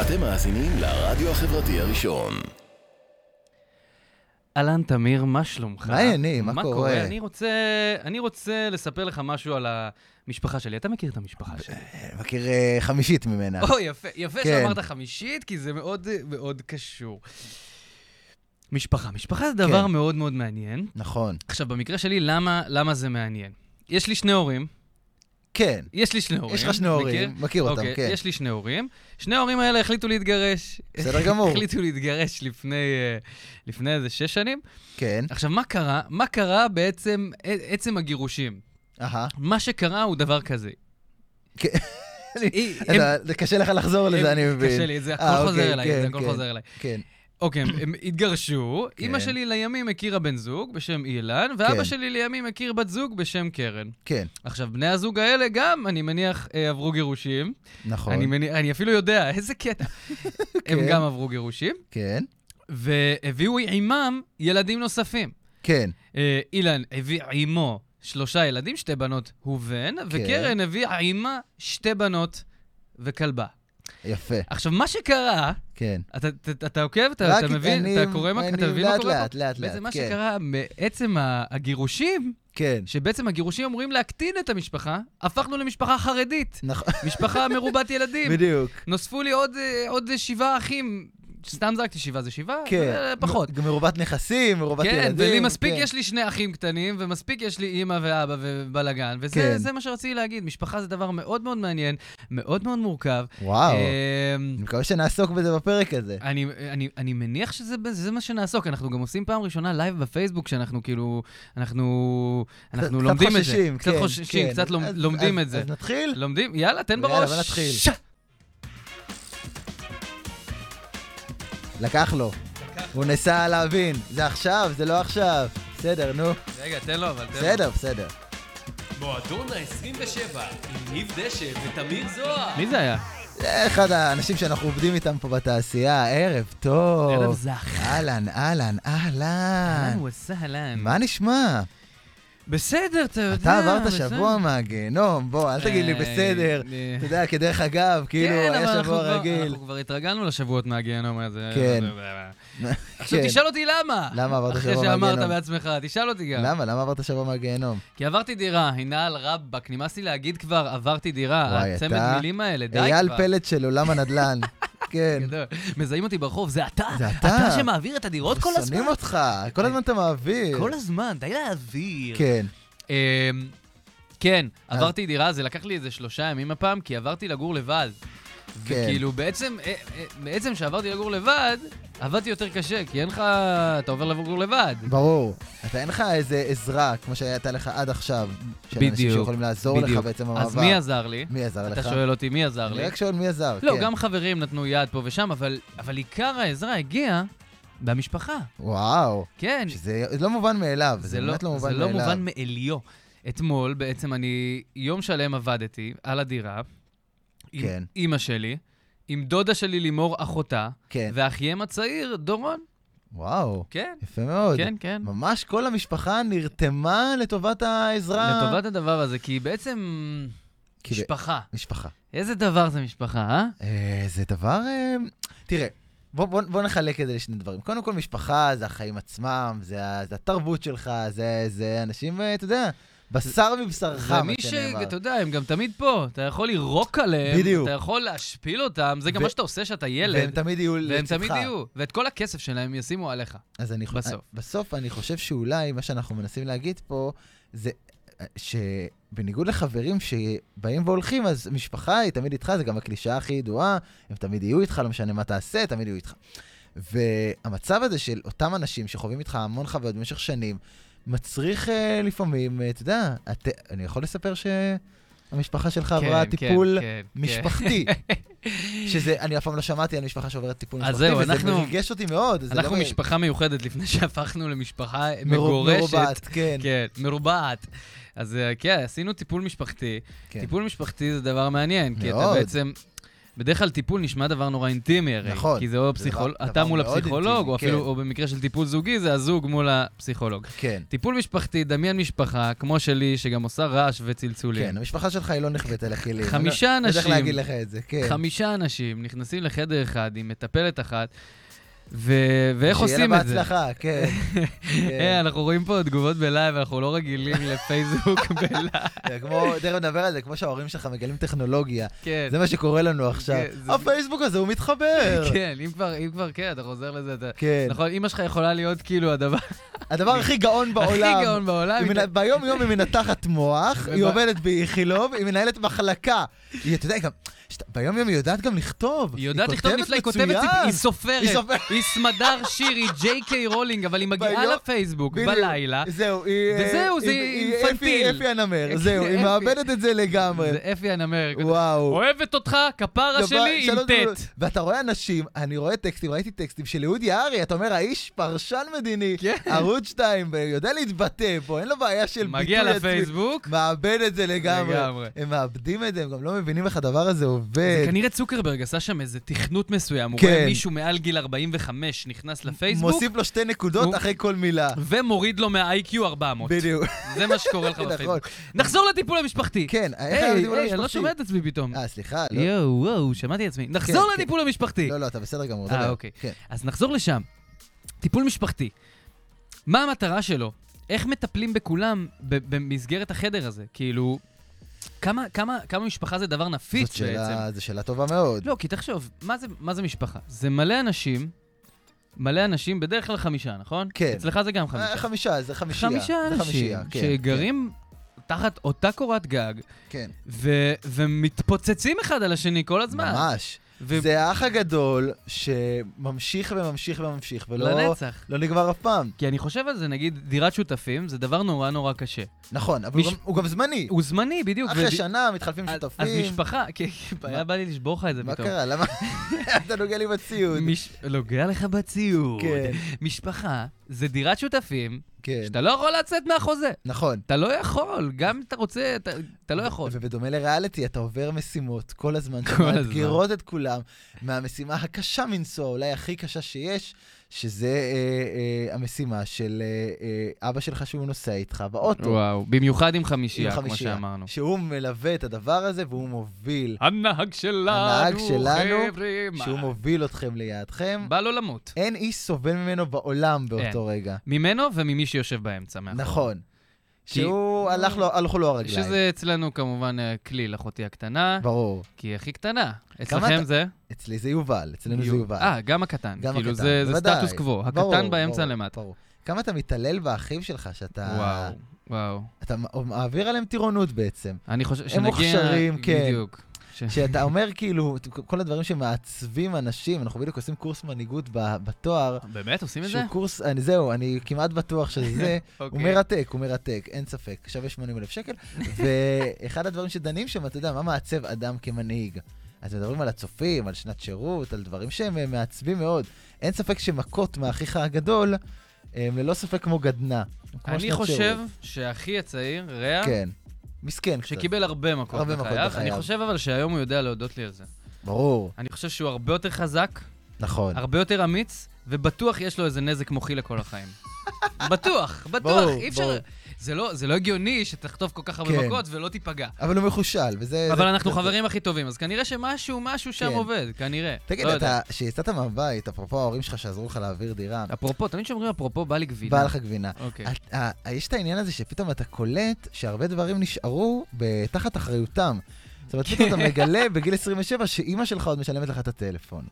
אתם מאזינים לרדיו החברתי הראשון. אהלן, תמיר, מה שלומך? מה העניינים? מה קורה? אני רוצה, אני רוצה לספר לך משהו על המשפחה שלי. אתה מכיר את המשפחה שלי. מכיר אה, חמישית ממנה. או, יפה, יפה כן. שאמרת חמישית, כי זה מאוד אה, מאוד קשור. משפחה. משפחה זה דבר כן. מאוד מאוד מעניין. נכון. עכשיו, במקרה שלי, למה, למה זה מעניין? יש לי שני הורים, כן. יש לי שני הורים. יש לך שני הורים, מכיר אותם, אוקיי, כן. יש לי שני הורים. שני ההורים האלה החליטו להתגרש. בסדר גמור. החליטו להתגרש לפני, אה, לפני איזה שש שנים. כן. עכשיו, מה קרה? מה קרה בעצם, ע- עצם הגירושים? אהה. מה שקרה הוא דבר כזה. כן. היא- הם- אתה- זה קשה לך לחזור לזה, הם- אני מבין. קשה לי, זה הכל אה, חוזר אוקיי, אליי, זה כן, הכל כן, חוזר אליי. כן. אוקיי, הם הם התגרשו, אימא כן. שלי לימים הכירה בן זוג בשם אילן, ואבא כן. שלי לימים הכיר בת זוג בשם קרן. כן. עכשיו, בני הזוג האלה גם, אני מניח, אה, עברו גירושים. נכון. אני מניח, אני אפילו יודע, איזה קטע. הם כן. גם עברו גירושים, כן. והביאו עימם ילדים נוספים. כן. אה, אילן הביא עימו שלושה ילדים, שתי בנות הוא בן, כן. וקרן הביאה עימה שתי בנות וכלבה. יפה. עכשיו, מה שקרה, כן. אתה, אתה, אתה עוקב, אתה, רק אתה מבין, אני- אתה קורא מה, אני אתה מבין מה לאט, קורה לאט, פה? לאט, בעצם לאט, מה כן. שקרה, מעצם ה- הגירושים, כן. שבעצם הגירושים אמורים להקטין את המשפחה, הפכנו למשפחה חרדית, נכון. משפחה מרובת ילדים. בדיוק. נוספו לי עוד, אה, עוד שבעה אחים, סתם זרקתי שבעה זה שבעה, כן. אה, פחות. מ- גם מרובת נכסים, מרובת כן, ילדים. ולי מספיק כן. יש לי שני אחים קטנים, ומספיק יש לי אימא ואבא ובלאגן, וזה כן. זה מה שרציתי להגיד, משפחה זה דבר מאוד מאוד מעניין, מאוד מאוד מורכב. וואו. אמ, אני מקווה שנעסוק בזה בפרק הזה. אני, אני, אני מניח שזה ב- זה מה שנעסוק, אנחנו גם עושים פעם ראשונה לייב בפייסבוק, שאנחנו כאילו, אנחנו, אנחנו קצת לומדים חוששים, את זה. כן, קצת חוששים, כן. קצת לומד, אז- לומדים אז- את זה. אז נתחיל? לומדים, יאללה, תן בראש. יאללה, בוא נתחיל. ש- לקח לו. הוא ניסה להבין. זה עכשיו, זה לא עכשיו. בסדר, נו. רגע, תן לו, אבל תן לו. בסדר, בסדר. מועדון ה-27 עם ניב דשא ותמיר זוהר. מי זה היה? זה אחד האנשים שאנחנו עובדים איתם פה בתעשייה, ערב טוב. ערב זך. אהלן, אהלן, אהלן. אהלן וסהלן. מה נשמע? בסדר, אתה יודע. אתה עברת בסדר. שבוע מהגיהנום, בוא, אל תגיד לי אה, בסדר. אה. אתה יודע, כדרך אגב, כאילו, כן, אבל היה אנחנו שבוע כבר- רגיל. אנחנו כבר התרגלנו לשבועות מהגיהנום הזה. כן. עכשיו כן. תשאל אותי למה. למה עברת שבוע אחרי שאמרת מהגיהנום? בעצמך, תשאל אותי גם. למה? למה עברת שבוע מהגיהנום? כי עברתי דירה, הנה על רבאק, נמאס לי להגיד כבר עברתי דירה, וואי, הצמד אתה- מילים האלה, די אה, כבר. אייל פלט של עולם הנדל"ן. כן. גדול. מזהים אותי ברחוב, זה אתה? זה אתה. אתה שמעביר את הדירות כל הזמן? אה, שונאים אותך, כל הזמן אתה מעביר. כל הזמן, די להעביר. כן. אמ, כן, אז- עברתי דירה, זה לקח לי איזה שלושה ימים הפעם, כי עברתי לגור לבד. כן. וכאילו, בעצם, אה, אה, בעצם כשעברתי לגור לבד, עבדתי יותר קשה, כי אין לך... אתה עובר לגור לבד. ברור. אתה אין לך איזה עזרה, כמו שהייתה לך עד עכשיו, של אנשים בדיוק, שיכולים לעזור לך בדיוק. בעצם במעבר. אז מי עזר לי? מי עזר לך? אתה שואל אותי מי עזר לי? אני רק שואל מי עזר. לא, כן. גם חברים נתנו יד פה ושם, אבל אבל עיקר העזרה הגיעה מהמשפחה. וואו, כן, שזה לא מובן מאליו, זה זה לא באמת לא מובן זה לא מאליו. מובן מאליו. אתמול, בעצם אני יום שלם עבדתי על הדירה, כן. עם אימא שלי, עם דודה שלי לימור אחותה, כן. ואחיהם הצעיר דורון. וואו, כן, יפה מאוד. כן, כן. ממש כל המשפחה נרתמה לטובת העזרה. לטובת הדבר הזה, כי בעצם כי ב- משפחה. משפחה. איזה דבר זה משפחה, אה? אה, זה דבר... אה, תראה, בוא, בוא, בוא נחלק את זה לשני דברים. קודם כל, משפחה זה החיים עצמם, זה, ה- זה התרבות שלך, זה, זה אנשים, אה, אתה יודע, בשר מבשרך, זה מה מי ש... שנאמר. אתה יודע, הם גם תמיד פה. אתה יכול לירוק עליהם, בדיוק. אתה יכול להשפיל אותם, זה גם ו- מה שאתה עושה כשאתה והם ילד, תמיד יהיו לצדך. והם תמיד יהיו. ואת כל הכסף שלהם ישימו עליך. אז אני חושב, בסוף. בסוף אני חושב שאולי מה שאנחנו מנסים להגיד פה זה אה, שבניגוד לחברים שבאים והולכים, אז משפחה היא תמיד איתך, זה גם הקלישאה הכי ידועה, הם תמיד יהיו איתך, לא משנה מה תעשה, תמיד יהיו איתך. והמצב הזה של אותם אנשים שחווים איתך המון חוויות במשך שנים, מצריך אה, לפעמים, אה, אתה יודע, את, אני יכול לספר שהמשפחה שלך עברה כן, טיפול כן, כן. משפחתי. שזה, אני אף פעם לא שמעתי על משפחה שעוברת טיפול אז משפחתי, זהו, וזה אנחנו- מרגש אותי מאוד. זה אנחנו לא- משפחה מיוחדת לפני שהפכנו למשפחה מרוב- מגורשת. מרובעת, כן. כן, מרובעת. אז אה, כן, עשינו טיפול משפחתי. כן. טיפול משפחתי זה דבר מעניין, כי אתה מאוד. בעצם... בדרך כלל טיפול נשמע דבר נורא אינטימי הרי. נכון. כי זה או זה פסיכולוג, דבר- אתה דבר מול מאוד הפסיכולוג, אינטימי, או אפילו, כן. או במקרה של טיפול זוגי, זה הזוג מול הפסיכולוג. כן. טיפול משפחתי, דמיין משפחה, כמו שלי, שגם עושה רעש וצלצולים. כן, המשפחה שלך היא לא נכבדת על הכלים. אני חמישה לא- לא יודע איך אנשים. להגיד לך את זה, כן. חמישה אנשים נכנסים לחדר אחד עם מטפלת אחת, ו- ואיך שיהיה עושים לה את זה? בהצלחה, כן. כן. אה, אנחנו רואים פה תגובות בלייב, אנחנו לא רגילים לפייסבוק בלייב. זה כמו, תכף נדבר על זה, כמו שההורים שלך מגלים טכנולוגיה. כן. זה מה שקורה לנו עכשיו. כן, זה- הפייסבוק הזה, הוא מתחבר. כן, אם כבר, אם כבר, כן, אתה חוזר לזה, אתה... כן. נכון, אימא שלך יכולה להיות כאילו הדבר הדבר הכי גאון בעולם. הכי גאון בעולם. היא מנה- ביום יום היא מנתחת מוח, היא וב- עובדת באיכילוב, היא מנהלת מחלקה. היא, אתה יודע, גם, שת- ביום יום היא יודעת גם לכתוב. היא יודעת לכתוב כותבת נפלא, היא כותבת, מצוין. היא סופרת, היא סופרת. היא סמדר שיר, היא ג'יי קיי רולינג, אבל היא מגיעה ביום- לפייסבוק בדיוק. בלילה. זהו, היא... אה, וזהו, זה היא- היא- היא- אינפנטיל. אפי- אפי הנמר, כן, זהו, היא אפי. מאבדת את זה לגמרי. זה אפי הנמר. וואו. אוהבת אותך, כפרה דבר- שלי עם שלוש דקות. טט. ואתה רואה אנשים, אני רואה טקסטים, ראיתי טקסטים של אהוד יערי, אתה אומר, האיש פרשן מדיני, כן. ערוץ 2, יודע להתבטא פה, אין לו בעיה של ביטוי מגיע לפייסבוק. מאבד את זה לגמרי. לגמרי. הם מאבדים את זה, הם גם לא מבינים איך הדבר הזה עובד. זה כנראה צוקרברג עשה שם איזה תכנות מסוים. הוא כן. רואה מישהו מעל גיל 45 נכנס לפייסבוק, מוסיף לו שתי נקודות הוא- אחרי כל מילה. ומוריד לו מה-IQ 400. בדיוק. זה מה שקורה לך נכון. בפייסבוק. נחזור לטיפול המשפחתי. כן, איך היה היי, הטיפול היי, אני לא המשפחתי? שומע את עצמי פתאום. אה, סליחה, לא. יואו, וואו, שמעתי את עצמי. נחזור כן. לטיפול המשפחתי. לא, לא, אתה בסדר גמור. אה, דבר. אוקיי. כן. אז נחזור לשם. טיפול משפחתי. מה המטרה שלו? איך מטפלים בכולם ב- במסגרת החדר הזה? כאילו, כמה, כמה, כמה משפחה זה דבר זאת נפיץ שאלה- בעצם? זו שאלה טובה מאוד. לא, כי תחשוב, מה זה, מה זה משפחה? זה מלא אנשים, מלא אנשים, בדרך כלל חמישה, נכון? כן. אצלך זה גם חמישה. אה, חמישה, זה חמישייה. זה אנשים חמישייה, כן, שגרים תחת אותה קורת גג, כן, ו- ומתפוצצים אחד על השני כל כן. הזמן. ממש. ו- זה האח הגדול שממשיך וממשיך וממשיך, ולא לנצח. לא נגמר אף פעם. כי אני חושב על זה, נגיד, דירת שותפים זה דבר נורא נורא קשה. נכון, אבל הוא מש- גם- הוא גם זמני. הוא זמני, בדיוק. אחרי וד- שנה מתחלפים אז- שותפים. אז משפחה, כן, היה בא לי לשבור לך את זה מה פתאום. קרה? למה אתה נוגע לי בציוד? מש- נוגע לך בציוד. כן, משפחה זה דירת שותפים כן. שאתה לא יכול לצאת מהחוזה. נכון. אתה לא יכול, גם אם אתה רוצה, אתה- אתה לא יכול. ובדומה לריאליטי, אתה עובר משימות כל הזמן, כל שמאתגרות את כולם, מהמשימה הקשה מנשוא, אולי הכי קשה שיש, שזה אה, אה, המשימה של אה, אה, אבא שלך שהוא נוסע איתך באוטו. וואו, במיוחד עם עם חמישייה, כמו חמישייה. שאמרנו. שהוא מלווה את הדבר הזה והוא מוביל, הנהג שלנו, הנהג שלנו, חבר'ה, אה, מה? שהוא מוביל אתכם ליעדכם. בא לו למות. אין איש סובל ממנו בעולם באותו רגע. ממנו וממי שיושב באמצע. מאחור. נכון. שהוא הלך לו, הלכו לו הרגליים. שזה אצלנו כמובן אה, כליל, אחותי הקטנה, ברור. כי היא הכי קטנה. אתה- אצלכם זה? אצלי זה יובל, אצלנו זה יו- יובל. אה, גם הקטן. גם כאילו הקטן, זה זה בוודאי. סטטוס קוו. ברור, הקטן באמצע ברור, למטה. ברור. כמה אתה מתעלל באחים שלך, שאתה... וואו, וואו. אתה מ- מעביר עליהם טירונות בעצם. אני חושב שנגיע... מוכשרים, כן. בדיוק. ש- שאתה אומר כאילו, ת- כל הדברים שמעצבים אנשים, אנחנו בדיוק עושים קורס מנהיגות ב- בתואר. באמת? עושים את זה? שהוא קורס, אני- זהו, אני כמעט בטוח שזה. הוא אוקיי. מרתק, הוא מרתק, אין ספק. שווה 80 אלף שקל. ואחד הדברים שדנים שם, אתה יודע, מה מעצב אדם כמנהיג? אז מדברים על הצופים, על שנת שירות, על דברים שהם אה, מעצבים מאוד. אין ספק שמכות מאחיך הגדול, הם ללא ספק כמו גדנ"ע. הם כמו אני שנת חושב אה? שירות. שהאחי הצעיר, רע, כן. מסכן קצת. שקיבל הרבה מכות הרבה מכות בחייו, אני בחייו. חושב אבל שהיום הוא יודע להודות לי על זה. ברור, אני חושב שהוא הרבה יותר חזק, נכון. הרבה יותר אמיץ, ובטוח יש לו איזה נזק מוחי לכל החיים. בטוח, בטוח, ברור, אי אפשר... ברור. זה לא- זה לא הגיוני שתחטוף כל כך הרבה כן. מכות ולא תיפגע. אבל הוא מחושל, וזה... אבל זה- אנחנו זה- חברים הכי טובים, אז כנראה שמשהו, משהו שם כן. עובד, כנראה. תגיד, לא יודע. אתה, כשיצאת מהבית, אפרופו ההורים שלך שעזרו לך להעביר דירה, אפרופו, תמיד כשאומרים אפרופו, בא לי גבינה. בא לך אה. גבינה. אוקיי. את- ה- יש את העניין הזה שפתאום אתה קולט שהרבה דברים נשארו ב- תחת אחריותם. זאת אומרת, פתאום כן. אתה מגלה בגיל 27 שאימא שלך עוד משלמת לך את הטלפון.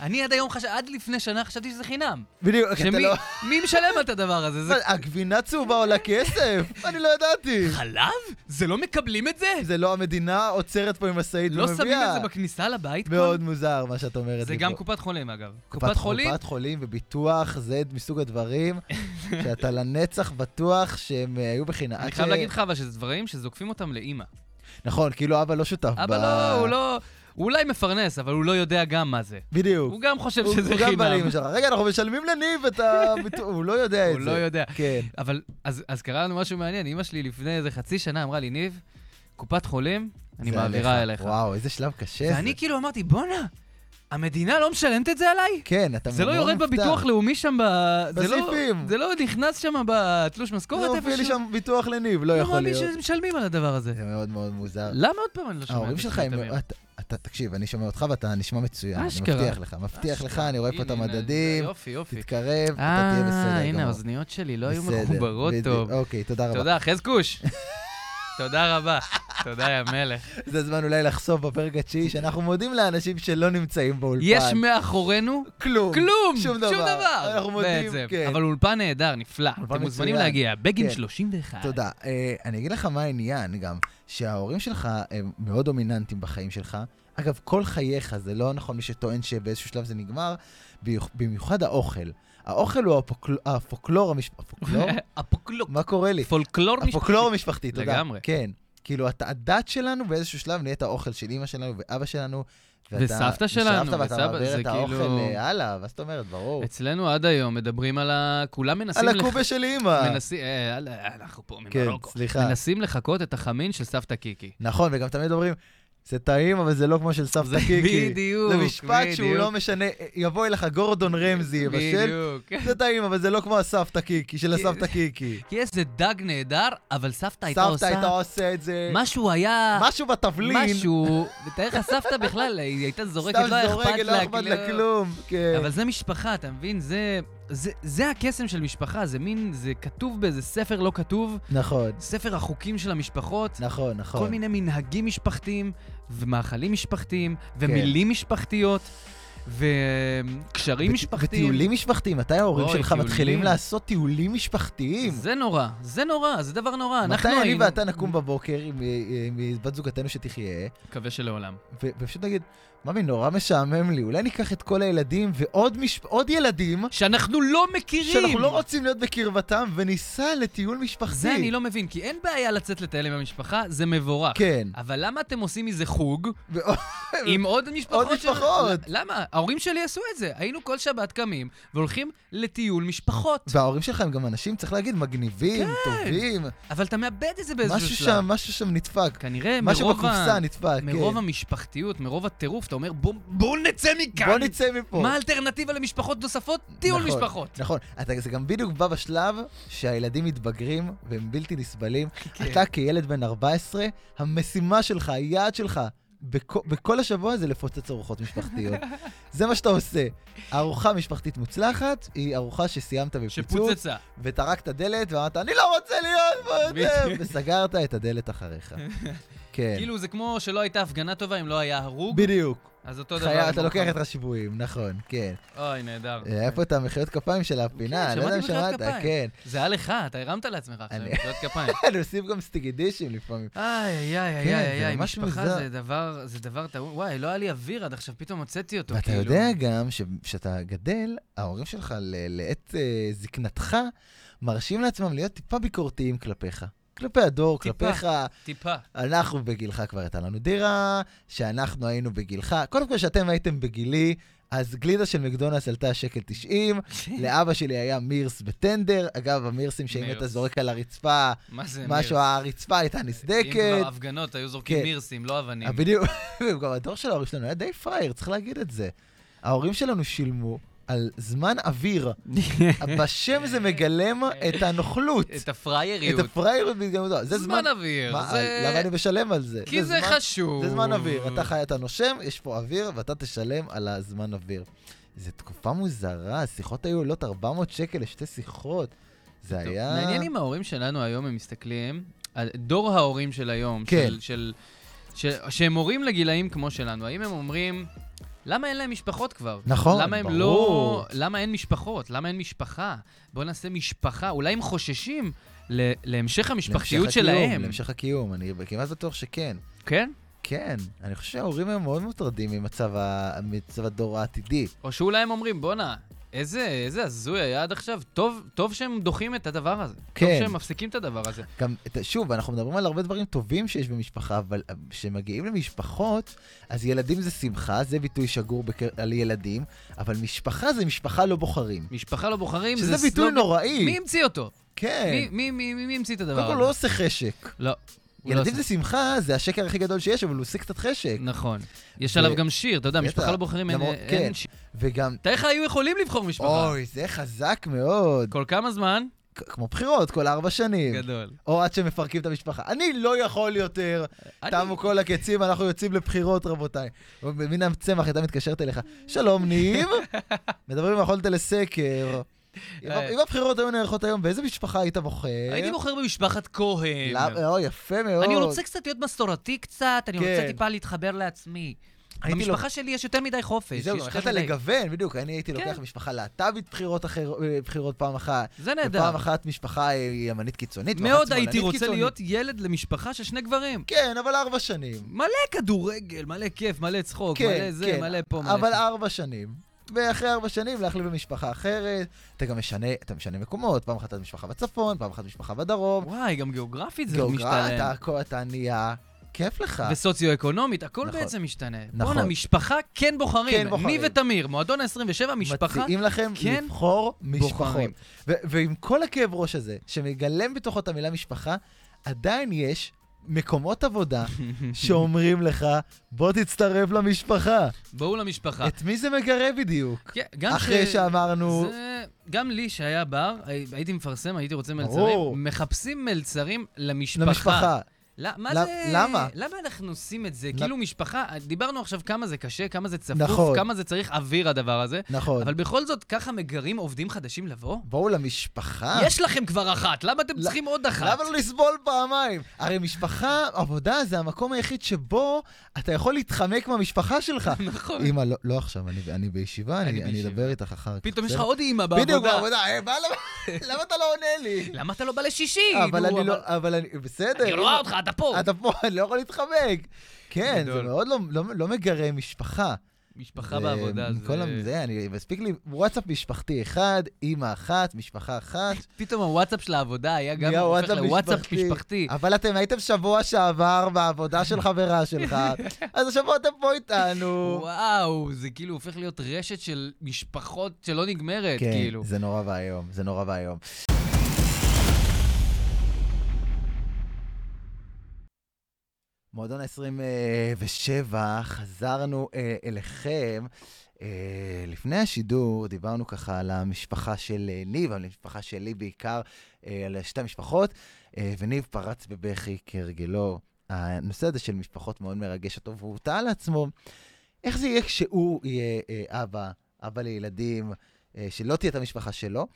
אני עד היום חשבתי, עד לפני שנה חשבתי שזה חינם. בדיוק, כי אתה שמי לא... מי משלם על את הדבר הזה? זה אבל הגבינה צהובה עולה כסף, אני לא ידעתי. חלב? זה לא מקבלים את זה? זה לא המדינה עוצרת פה עם משאית לא ומביאה. שמים את זה בכניסה לבית? פה? מאוד מוזר מה שאת אומרת. זה לי גם פה. קופת חולים, אגב. קופת- קופת חולים? קופת חולים וביטוח, זה מסוג הדברים שאתה לנצח בטוח שהם אה, היו בחינם. אני עד חייב ש- להגיד לך, אבל שזה דברים שזוקפים אותם לאימא. נכון, כאילו אבא לא שותף ב... אבא לא, הוא לא... הוא אולי מפרנס, אבל הוא לא יודע גם מה זה. בדיוק. הוא גם חושב הוא- שזה הוא גם חינם. בעלים שלך. רגע, אנחנו משלמים לניב את הביטוח, הוא לא יודע את זה. הוא לא יודע. כן. אבל אז אז קרה לנו משהו מעניין. אימא שלי לפני איזה חצי שנה אמרה לי, ניב, קופת חולים, אני זה מעבירה אליך. וואו, איזה שלב קשה זה. ואני כאילו אמרתי, בואנה, המדינה לא משלמת את זה עליי? כן, אתה זה לא מאוד יורד מופתע. בביטוח לאומי שם ב... זה לא- בסעיפים. זה לא נכנס שם בתלוש משכורת לא איפשהו? הופיע לי שם ביטוח לניב, לא אמר יכול לי להיות. שמשלמים על הדבר הזה. זה מאוד מאוד מוזר. למה עוד פעם אני לא שומע? ההורים את שלך עצמי הם... תמים? אתה- אתה, תקשיב, אני שומע אותך ואתה נשמע מצוין. אני אשכרה. מבטיח לך, מבטיח לך, אני רואה פה את הנה, הנה, המדדים, יופי, יופי. תתקרב, אתה תהיה בסדר גמור. אה, הנה, האוזניות שלי לא היו בסדר, מחוברות בדיוק. טוב. אוקיי, תודה רבה. תודה, חזקוש. תודה רבה. תודה, יא מלך. זה הזמן אולי לחשוף בפרק התשיעי שאנחנו מודים לאנשים שלא נמצאים באולפן. יש מאחורינו כלום. כלום, שום דבר. אנחנו מודים, בעצם. כן. אבל אולפן נהדר, נפלא. אתם מצוין. מוזמנים להגיע, בגין כן. 31. תודה. אה, אני אגיד לך מה העניין גם, שההורים שלך הם מאוד דומיננטיים בחיים שלך. אגב, כל חייך, זה לא נכון מי שטוען שבאיזשהו שלב זה נגמר, ביוח- במיוחד האוכל. האוכל הוא הפוקל- הפולקלור המשפחתי. הפולקלור? אפוקלור. מה קורה לי? פולקלור משפחתי. הפולקלור המשפחתי, תודה. לגמרי. כן. כאילו, אתה- הדת שלנו באיזשהו שלב נהיית האוכל של אימא שלנו ואבא שלנו. ואתה- וסבתא שלנו, וסבתא, ואתה וסבא, מעביר זה את האוכל כאילו- אה, הלאה, ואז אתה אומרת, ברור. אצלנו עד היום מדברים על ה... כולם מנסים על לח- הקובה של אימא. מנסים... אה, על- אנחנו פה כן, ממרוקו. סליחה. מנסים לחקות את החמין של סבתא קיקי. נכון, וגם תמיד אומרים, זה טעים, אבל זה לא כמו של סבתא זה קיקי. בדיוק, זה משפט שהוא בדיוק. לא משנה, יבוא אליך גורדון רמזי, יבשל. בדיוק. כן. זה טעים, אבל זה לא כמו הסבתא קיקי, של הסבתא קיקי. כי איזה דג נהדר, אבל סבתא הייתה סבתא עושה... הייתה עושה את זה, משהו היה... משהו בתבלין, משהו... ותאר לך סבתא בכלל, היא הייתה זורקת, סתם לא היה זורקת, אכפת לא לה. אכפת לה כאילו- כלום. כן. אבל זה משפחה, אתה מבין? זה... זה, זה הקסם של משפחה, זה מין, זה כתוב באיזה ספר לא כתוב, נכון, ספר החוקים של המשפחות, נכון, כל נכון. מיני מנהגים משפחתיים, ומאכלים משפחתיים, כן. ומילים משפחתיות, וקשרים ות- משפחתיים. וטיולים משפחתיים, מתי ההורים אוי, שלך מתחילים טיולים. לעשות טיולים משפחתיים? זה נורא, זה נורא, זה דבר נורא. אנחנו מתי אני היינו- ואתה נקום בבוקר עם אה, אה, עם בת זוגתנו שתחיה, מקווה שלעולם. ו- ופשוט נגיד, ממי, נורא משעמם לי, אולי ניקח את כל הילדים ועוד מש... עוד ילדים שאנחנו לא מכירים! שאנחנו לא רוצים להיות בקרבתם, וניסע לטיול משפחתי. זה אני לא מבין, כי אין בעיה לצאת לטייל עם המשפחה, זה מבורך. כן. אבל למה אתם עושים מזה חוג ו- עם עוד משפחות? עוד של- משפחות. למה? ההורים שלי עשו את זה. היינו כל שבת קמים והולכים לטיול משפחות. וההורים שלך הם גם אנשים, צריך להגיד, מגניבים, טובים. אבל אתה מאבד את זה באיזשהו משהו כן. שלב. שם, משהו שם נדפק. כנראה משהו מרוב, בקופסה ה... נדפק, כן. מרוב המשפחתיות, מרוב הטירוף, אתה אומר בואו בוא נצא מכאן. בוא נצא מפה. מה האלטרנטיבה למשפחות נוספות? טיול נכון, משפחות. נכון, אתה, זה גם בדיוק בא בשלב שהילדים מתבגרים והם בלתי נסבלים. כן. אתה כילד בן 14, המשימה שלך, היעד שלך, בכ, בכל השבוע זה לפוצץ ארוחות משפחתיות. זה מה שאתה עושה. ארוחה משפחתית מוצלחת היא ארוחה שסיימת בפיצוץ, שפוצצה. וטרקת דלת ואמרת, אני לא רוצה להיות פה יותר, בדיוק. וסגרת את הדלת אחריך. כן, כאילו זה כמו שלא הייתה הפגנה טובה אם לא היה הרוג, בדיוק. אז אותו דבר. לא חיה, עם אתה ארוחה. לוקח את השבויים, נכון, כן. אוי, נהדר. אה, היה פה את המחיאות כפיים של הפינה, אוקיי. כן, אני לא יודע אם שמעתי מחיאות שמעת, כפיים. כן. זה היה לך, אתה הרמת לעצמך עכשיו, אני- מחיאות כפיים. אני עושים גם סטיגי דישים לפעמים. איי, איי, כן, איי, איי, זה איי, ממש משפחה מוזר. זה דבר, זה דבר טעון. וואי, לא היה לי אוויר עד עכשיו, פתאום הוצאתי אותו, ואתה כאילו. יודע גם שכשאתה גדל, ההורים שלך ל- לעת אה, זקנתך מרשים לעצמם להיות טיפה ביקורתיים כלפיך. כלפי הדור, טיפה. כלפיך, טיפה. אנחנו בגילך כבר הייתה לנו דירה, שאנחנו היינו בגילך, קודם כל שאתם הייתם בגילי, אז גלידה של מקדונלדס עלתה שקל 90, לאבא שלי היה מירס בטנדר, אגב, המירסים שאם כן. מירס. אתה זורק על הרצפה, מה זה, משהו, מירס? הרצפה הייתה אם נסדקת. כבר הפגנות היו זורקים כן. מירסים, לא אבנים. בדיוק, גם הדור של ההורים שלנו היה די פראייר, צריך להגיד את זה. ההורים שלנו שילמו על זמן אוויר, בשם זה מגלם את הנוכלות, כן. את הפרייריות. את הפראייריות בהתגלמותו. זה זמן... זמן אוויר. מה, זה- למה אני משלם על זה? כי זה זמן- חשוב. זה זמן אוויר. אתה חי, אתה נושם, יש פה אוויר, ואתה תשלם על הזמן אוויר. זו תקופה מוזרה, השיחות היו עולות 400 שקל לשתי שיחות. זה טוב, היה... מעניין אם ההורים שלנו היום הם מסתכלים, על דור ההורים של היום, כן. של- של... ש- שהם הורים לגילאים כמו שלנו, האם הם אומרים, למה אין להם משפחות כבר? נכון, למה הם ברור. לא... למה אין משפחות? למה אין משפחה? בואו נעשה משפחה. אולי הם חוששים ל- להמשך המשפחתיות להמשך הקיום, שלהם. להמשך הקיום, אני כמעט בטוח שכן. כן? כן, אני חושב שההורים הם מאוד מוטרדים ממצב, ה... ממצב הדור העתידי. או שאולי הם אומרים, בואנה, איזה איזה הזוי היה עד עכשיו. טוב טוב שהם דוחים את הדבר הזה. טוב כן. שהם מפסיקים את הדבר הזה. גם, את- שוב, אנחנו מדברים על הרבה דברים טובים שיש במשפחה, אבל אה, כשמגיעים למשפחות, אז ילדים זה שמחה, זה ביטוי שגור בקר... על ילדים, אבל משפחה זה משפחה לא בוחרים. משפחה לא בוחרים, שזה זה ביטוי סלוגן- נוראי. מי המציא אותו? כן. מי- מי מי- מי המציא את הדבר קודם הזה? כל לא עושה חשק. לא. הוא לא ילדים עשה. זה שמחה, זה השקר הכי גדול שיש, אבל הוא עושה קצת חשק. נכון. יש ו- עליו גם שיר, אתה יודע, בטח. משפחה לא בוחרים, אין- למרות- אין כן. שיר. וגם, תאר לך היו יכולים לבחור משפחה. אוי, זה חזק מאוד. כל כמה זמן? כ- כמו בחירות, כל ארבע שנים. גדול. או עד שמפרקים את המשפחה. אני לא יכול יותר, אני- תמו כל הקצים, אנחנו יוצאים לבחירות, רבותיי. מן הצמח הייתה מתקשרת אליך, שלום ניב, מדברים על יכולת לסקר. אם ה- אם הבחירות היו נערכות היום, באיזה משפחה היית בוחר? אה. הייתי בוחר במשפחת כהן. למה- או, יפה מאוד. אני רוצה קצת להיות מסורתי קצת, אני לא. כן. רוצה טיפה להתחבר לעצמי. הייתי במשפחה לוק- שלי יש יותר מדי חופש. זהו, יש גם יותר יכלת מדי- לגוון, בדיוק. אני הייתי לוקח כן. משפחה להט"בית בחירות אחר- אה, בחירות פעם אחת. זה נהדר. ופעם אחת משפחה אה, ימנית קיצונית. ואחת מאוד שמאלנית הייתי רוצה קיצונית. להיות ילד למשפחה של שני גברים. כן, אבל ארבע שנים. מלא כדורגל, מלא כיף, מלא צחוק, מלא זה, מלא פה, מלא כן, אבל שם. ארבע שנים. ואחרי ארבע שנים להחליף במשפחה אחרת, אתה גם משנה, אתה משנה מקומות, פעם אחת אתה משפחה בצפון, פעם אחת משפחה בדרום, וואי, גם גיאוגרפית זה לא גיאוגרפיה, אתה משתלם. הכל, אתה נהיה, כיף לך. וסוציו-אקונומית, הכל נכון. בעצם משתנה. נכון. בואנה, משפחה כן בוחרים. כן בוחרים. ניב ותמיר, מועדון ה-27, משפחה מציעים לכם כן לבחור משפחות. בוחרים. ו- ועם כל הכאב ראש הזה, שמגלם בתוכו את המילה משפחה, עדיין יש מקומות עבודה שאומרים לך, בוא תצטרף למשפחה. בואו למשפחה. את מי זה מגרה בדיוק? כן, גם אחרי ש- שאמרנו, זה... גם לי שהיה בר, הי- הייתי מפרסם, הייתי רוצה ברור. מלצרים, מחפשים מלצרים למשפחה. למשפחה. لا, מה למ- זה... למה? למה אנחנו עושים את זה? למ- כאילו משפחה, דיברנו עכשיו כמה זה קשה, כמה זה צפוף, נכון. כמה זה צריך אוויר הדבר הזה, נכון. אבל בכל זאת, ככה מגרים עובדים חדשים לבוא? בואו למשפחה. יש לכם כבר אחת, למה אתם אה. ל- צריכים עוד אחת? למה לא לסבול פעמיים? הרי משפחה, עבודה זה המקום היחיד שבו אתה יכול להתחמק מהמשפחה שלך. נכון. אמא, לא, לא עכשיו, אני, אני בישיבה, אני, אני אני, בישיבה. אדבר איתך אחר כך. פתאום יש לך בסדר? עוד אימא לא- בדיוק, בעבודה. בעבודה. אה, מה, למה, למה אתה לא עונה לי? למה אתה לא בא לשישי? אבל נו, אני לא, אבל אני, בסדר. אני לא אם- רואה אותך, אתה פה. אתה פה, אני לא יכול להתחמק. כן, זה גדול. מאוד לא, לא, לא מגרה משפחה. משפחה בעבודה זה... כל המ- זה... זה, אני, מספיק לי וואטסאפ משפחתי אחד, אימא אחת, משפחה אחת. פתאום הוואטסאפ של העבודה היה גם נהיה הופך וואטסאפ לוואטסאפ משפחתי. אבל אתם הייתם שבוע שעבר בעבודה של חברה שלך, אז השבוע אתם פה איתנו. וואו, זה כאילו הופך להיות רשת של משפחות שלא נגמרת, כאילו. כן, זה נורא ואיום, זה נורא ואיום. מועדון ה-27, חזרנו אה, אליכם. אה, לפני השידור דיברנו ככה על המשפחה של אה, ניב, על המשפחה שלי בעיקר, אה, על שתי המשפחות, אה, וניב פרץ בבכי כהרגלו. הנושא הזה של משפחות מאוד מרגש אותו, והוא טעה לעצמו, איך זה יהיה כשהוא יהיה אה, אבא, אבא לילדים, אה, שלא תהיה את המשפחה שלו.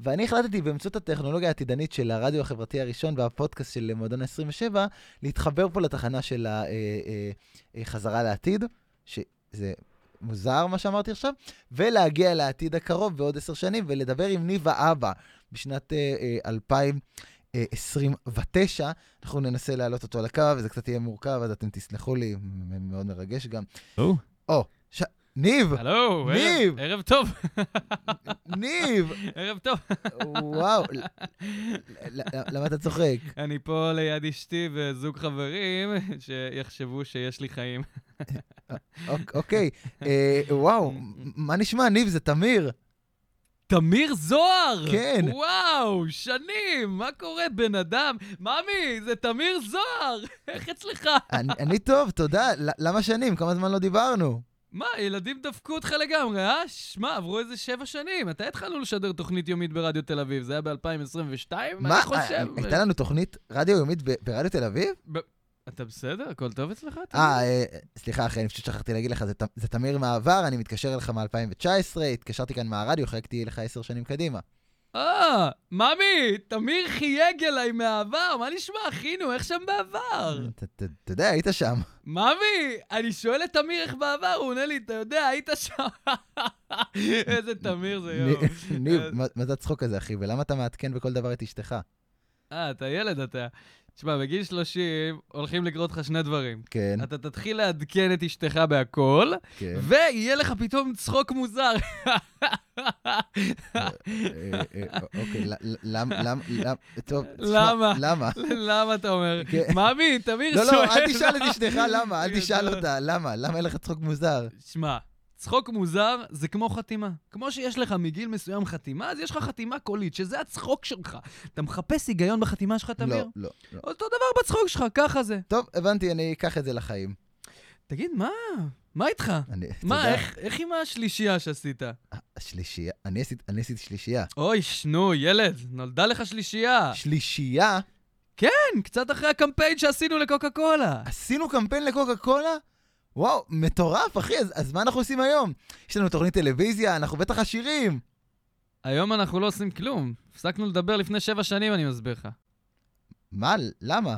ואני החלטתי באמצעות הטכנולוגיה העתידנית של הרדיו החברתי הראשון והפודקאסט של מועדון ה-27, להתחבר פה לתחנה של אה, החזרה אה, לעתיד, שזה מוזר מה שאמרתי עכשיו, ולהגיע לעתיד הקרוב בעוד עשר שנים ולדבר עם ניבה אבא בשנת אה, אה, 2029. אנחנו ננסה להעלות אותו על הקו, וזה קצת יהיה מורכב, אז אתם תסלחו לי, מ- מ- מאוד מרגש גם. או. או, ש... ניב, הלו, ערב- ניב! ערב טוב, ניב, ערב טוב. וואו, ל- ל- למה אתה צוחק? אני פה ליד אשתי וזוג חברים שיחשבו שיש לי חיים. אוק- אוקיי, אה, וואו, מה נשמע, ניב, זה תמיר. תמיר זוהר! כן. וואו, שנים, מה קורה, בן אדם? ממי, זה תמיר זוהר! איך אצלך? אני אני טוב, תודה. ל- למה שנים? כמה זמן לא דיברנו? מה, ילדים דפקו אותך לגמרי, אה? שמע, עברו איזה שבע שנים. מתי התחלנו לשדר תוכנית יומית ברדיו תל אביב? זה היה ב-2022? מה, אני חושב? אה, הייתה לנו תוכנית רדיו יומית ב- ברדיו תל אביב? ב- אתה בסדר? הכל טוב אצלך? תמיר? אה, אה, סליחה, אחי, אני פשוט שכחתי להגיד לך, זה ת- זה תמיר מהעבר, אני מתקשר אליך מ-2019, התקשרתי כאן מהרדיו, חייגתי לך עשר שנים קדימה. אה, ממי, תמיר חייג אליי מהעבר, מה נשמע, אחינו, איך שם בעבר? אתה- אתה אתה יודע, היית שם. ממי, אני שואל את תמיר איך בעבר, הוא עונה לי, אתה יודע, היית שם. איזה תמיר זה, יואו. ניב, ניב, מה- מה זה הצחוק הזה, אחי? ולמה אתה מעדכן בכל דבר את אשתך? אה, אתה ילד, אתה. תשמע, בגיל 30 הולכים לקרות לך שני דברים. כן, אתה תתחיל לעדכן את אשתך בהכל, כן. ויהיה לך פתאום צחוק מוזר. אה, אה, אוקיי, ל- ל- למה, למה, למה, טוב, תשמע, למה? למה? למה אתה אומר? כן. ממי, תמיר לא, שואל. לא, אל תשאל את אשתך למה, אל כן, תשאל טוב. אותה, למה? למה אין לך צחוק מוזר? שמע, צחוק מוזר זה כמו חתימה. כמו שיש לך מגיל מסוים חתימה, אז יש לך חתימה קולית, שזה הצחוק שלך. אתה מחפש היגיון בחתימה שלך, לא, תמיר? לא, לא. אותו דבר בצחוק שלך, ככה זה. טוב, הבנתי, אני אקח את זה לחיים. תגיד, מה? מה איתך? אני, אתה מה, יודע, איך, איך עם השלישייה שעשית? השלישייה, אני עשיתי- אני עשיתי שלישייה. אוי, שנו, ילד, נולדה לך שלישייה. שלישייה? כן, קצת אחרי הקמפיין שעשינו לקוקה קולה. עשינו קמפיין לקוקה קולה? וואו, מטורף, אחי, אז, אז מה אנחנו עושים היום? יש לנו תוכנית טלוויזיה, אנחנו בטח עשירים. היום אנחנו לא עושים כלום. הפסקנו לדבר לפני שבע שנים, אני מסביר לך. מה, למה?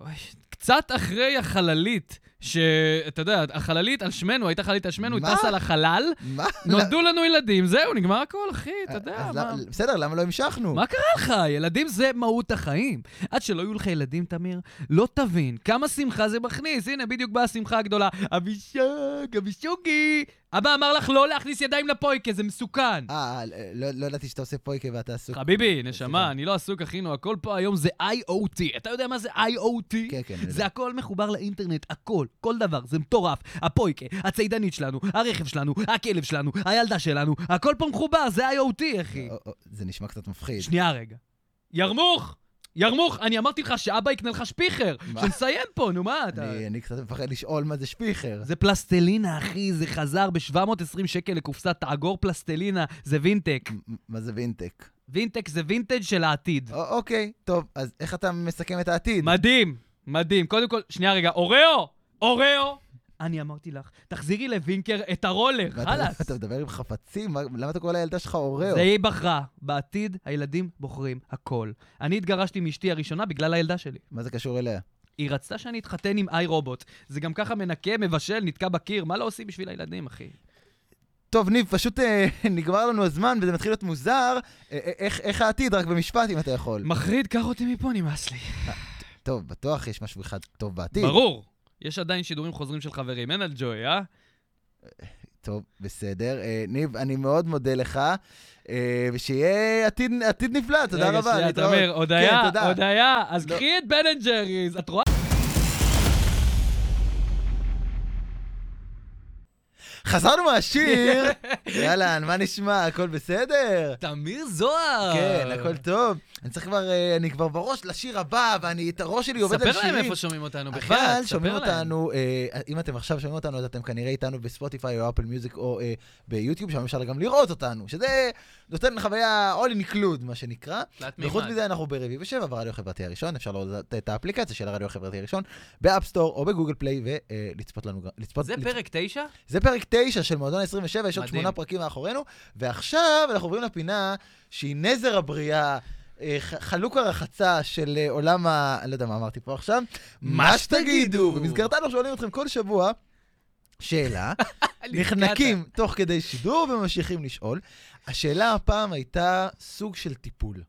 אוי, קצת אחרי החללית, שאתה יודע, החללית על שמנו, הייתה חללית על שמנו, היא מה? טסה לחלל, מה? נולדו לנו ילדים, זהו, נגמר הכל, אחי, אתה יודע, אה, אז מה למה- בסדר, למה לא המשכנו? מה קרה לך? ילדים זה מהות החיים. עד שלא יהיו לך ילדים, תמיר, לא תבין כמה שמחה זה מכניס. הנה, בדיוק באה השמחה הגדולה. אבישוג, אבישוגי! אבא אמר לך לא להכניס ידיים לפויקה, זה מסוכן. אה, לא לא ידעתי שאתה עושה פויקה ואתה עסוק. חביבי, סליחה. נשמה, אני לא עסוק, אחינו, הכל פה היום זה IOT. אתה יודע מה זה IOT? כן, כן, אני זה יודע. הכל מחובר לאינטרנט, הכל, כל דבר, זה מטורף. הפויקה, הצידנית שלנו, הרכב שלנו, הכלב שלנו, הילדה שלנו, הכל פה מחובר, זה IOT, אחי. או- או- זה נשמע קצת מפחיד. שנייה רגע. ירמוך! ירמוך, אני אמרתי לך שאבא יקנה לך שפיכר. מה? שנסיים פה, נו מה אתה... אני- אני קצת מפחד לשאול מה זה שפיכר. זה פלסטלינה, אחי, זה חזר ב-720 שקל לקופסת תאגור פלסטלינה, זה וינטק. מ- מה זה וינטק? וינטק זה וינטג' של העתיד. א- אוקיי, טוב, אז איך אתה מסכם את העתיד? מדהים, מדהים. קודם כל, שנייה רגע, אוראו! אוראו! אני אמרתי לך, תחזירי לווינקר את הרולר, ואתה- חלאס. אתה מדבר עם חפצים? מה- למה אתה קורא לילדה שלך אוראו? זה היא בחרה. בעתיד הילדים בוחרים הכל. אני התגרשתי מאשתי הראשונה בגלל הילדה שלי. מה זה קשור אליה? היא רצתה שאני אתחתן עם איי רובוט. זה גם ככה מנקה, מבשל, נתקע בקיר, מה לא עושים בשביל הילדים, אחי? טוב, ניב, פשוט אה, נגמר לנו הזמן וזה מתחיל להיות מוזר. אה, אה, איך- איך העתיד? רק במשפט, אם אתה יכול. מחריד, קח אותי מפה, נמאס לי. טוב, בטוח יש משהו אחד טוב בעתיד. ברור. יש עדיין שידורים חוזרים של חברים, אין על ג'וי, אה? טוב, בסדר. אה, ניב, אני מאוד מודה לך, אה, ושיהיה עתיד עתיד נפלא, תודה רבה. רגע, שנייה, להתראות. תמיר, הודיה, כן, תודה. הודיה, אז לא. קחי את בן אנד ג'ריז, את רואה? חזרנו מהשיר! יאללה, מה נשמע? הכל בסדר? תמיר זוהר! כן, הכל טוב. אני צריך כבר, אה, אני כבר בראש לשיר הבא, ואני, את הראש שלי עובד על שירים. ספר להם איפה שומעים אותנו, בכלל, אבל ספר שומעים להם. אותנו, אה, אם אתם עכשיו שומעים אותנו, אז אתם כנראה איתנו בספוטיפיי או אפל מיוזיק או אה, ביוטיוב, שם אפשר גם לראות אותנו, שזה נותן חוויה all include, מה שנקרא. תלת מימד. וחוץ מזה, אנחנו ברביעי ושבע ברדיו החברתי הראשון, אפשר להוריד את האפליקציה של הרדיו החברתי הראשון, באפסטור או בגוגל פליי, ולצפות לנו גם. לצפות- זה לצפות- פרק תשע? זה פרק 9 של מועדון 27, יש עוד מדהים. שמונה פרקים מאחורינו, ועכשיו אנחנו עוברים לפינה שהיא נזר הבריאה, אה, ח- חלוק הרחצה של אה, עולם ה... אני לא יודע מה אמרתי פה עכשיו. מה שתגידו. במסגרתה אנחנו שואלים אתכם כל שבוע שאלה, נתקעת. נחנקים תוך כדי שידור וממשיכים לשאול. השאלה הפעם הייתה סוג של טיפול.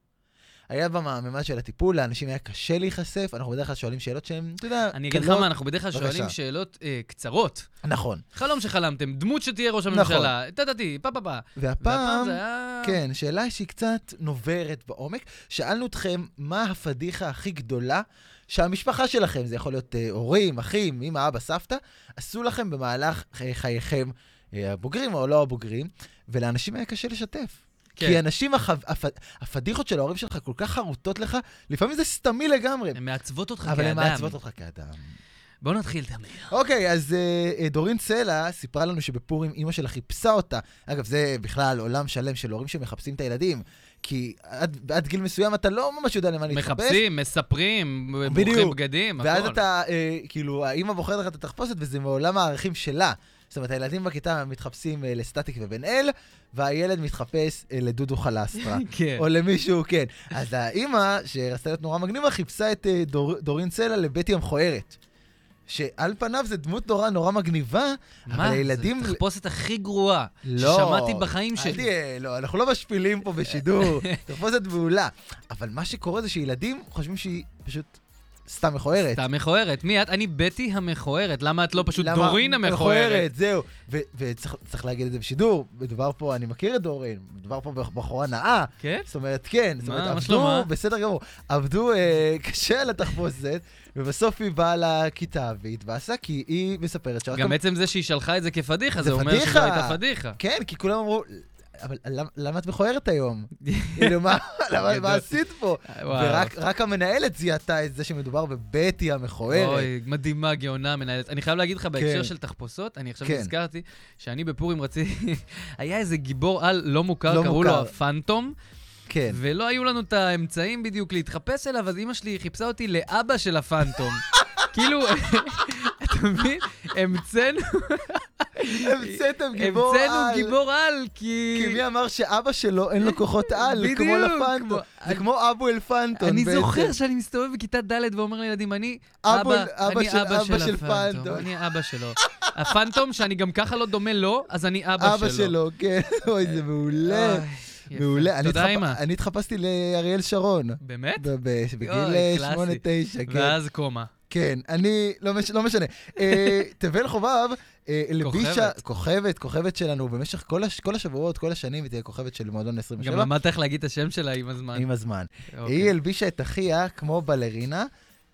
היה במעממה של הטיפול, לאנשים היה קשה להיחשף, אנחנו בדרך כלל שואלים שאלות שהן, אתה יודע, אני אגיד לך קלות. מה, אנחנו בדרך כלל בבקשה. שואלים שאלות אה, קצרות. נכון. חלום שחלמתם, דמות שתהיה ראש נכון. הממשלה, טה-טה-טי, פה-פה-פה. והפעם והפעם זה היה... כן, שאלה שהיא קצת נוברת בעומק. שאלנו אתכם, מה הפדיחה הכי גדולה שהמשפחה שלכם, זה יכול להיות אה, הורים, אחים, אמא, אבא, סבתא, עשו לכם במהלך אה, חייכם אה, הבוגרים או לא הבוגרים, ולאנשים היה קשה לשתף. כן. כן. כי אנשים, החו... הפ... הפדיחות של ההורים שלך כל כך חרוטות לך, לפעמים זה סתמי לגמרי. הן מעצבות אותך אבל הן כאדם. מעצבות אותך כאדם. בוא נתחיל, תמיר. אוקיי, אז אה, אה, דורין סלע סיפרה לנו שבפורים אימא שלה חיפשה אותה. אגב, זה בכלל עולם שלם של הורים שמחפשים את הילדים, כי עד, עד גיל מסוים אתה לא ממש יודע למה להתחפש. מחפשים, מספרים, בוחרים בדיוק. בגדים, הכל. ואז אתה, אה, כאילו, האימא בוחרת לך את התחפושת, וזה מעולם הערכים שלה. זאת אומרת, הילדים בכיתה מתחפשים אה, לסטטיק ובן אל, והילד מתחפש אה, לדודו חלסטרה. כן. או למישהו, כן. אז האימא, שרצתה להיות נורא מגניבה, חיפשה את אה, דור, דורין סלע לבטי המכוערת. שעל פניו זו דמות נורא נורא מגניבה, אבל מה? הילדים... לא. זו התחפושת הכי גרועה ששמעתי בחיים אל שלי. תהיה, לא, אנחנו לא משפילים פה בשידור, תחפושת מעולה. אבל מה שקורה זה שילדים חושבים שהיא פשוט סתם מכוערת. אתה מכוערת. מי את? אני בטי המכוערת. למה את לא פשוט למה- דורין המכוערת? זהו. ו- וצריך צריך להגיד את זה בשידור, מדובר פה, אני מכיר את דורין, מדובר פה בבחורה נאה. כן? זאת אומרת, כן, זאת מה- אומרת, מה עבדו, שלומה? בסדר גמור, עבדו אה, קשה על התחפושת, ובסוף היא באה לכיתה והתבאסה, כי היא מספרת שרק... גם עצם זה שהיא שלחה את זה כפדיחה, זה זה אומר פדיחה. שזו הייתה פדיחה. כן, כי כולם אמרו, אבל למ- למה את מכוערת היום? כאילו, מה- למה- מה גדול. עשית פה? וואו. ורק רק המנהלת זיהתה את זה שמדובר בבטי המכוערת. אוי, מדהימה, גאונה, מנהלת. אני חייב להגיד לך, בהקשר כן. של תחפושות, אני עכשיו כן. נזכרתי שאני בפורים רציתי... היה איזה גיבור על לא מוכר, לא קראו לו מוכר. הפנטום, כן. ולא היו לנו את האמצעים בדיוק להתחפש אליו, אז אימא שלי חיפשה אותי לאבא של הפנטום. כאילו, אתה מבין? המצאנו המצאתם גיבור על. המצאנו גיבור על, כי... כי מי אמר שאבא שלו אין לו כוחות על, בדיוק, כמו לפנטון. כמו- זה כמו אבו אל פנטון. אני בעצם. זוכר שאני מסתובב בכיתה ד' ואומר לילדים, אני אבא- אבא, אבא אני של- אבא אבא של של הפנטום, פנטום. אני אבא שלו. הפנטום, שאני גם ככה לא דומה לו, אז אני אבא שלו. אה, אבא שלו, כן. אוי, זה מעולה. אוי, יפה. מעולה. אני תודה, התחפ- אמא. אני התחפשתי לאריאל שרון. באמת? ב- ב- בגיל אוי, אה, קלאסי. שמונה, תשע, כן. ואז קומה. כן, אני, לא מש- לא משנה. אה, תבל חובב, אה, לבישה, כוכבת. כוכבת, כוכבת שלנו, במשך כל הש- כל השבועות, כל השנים, היא תהיה כוכבת של מועדון גם 27, למדת איך להגיד את השם שלה עם הזמן. עם הזמן. אוקיי. היא הלבישה את אחיה כמו בלרינה.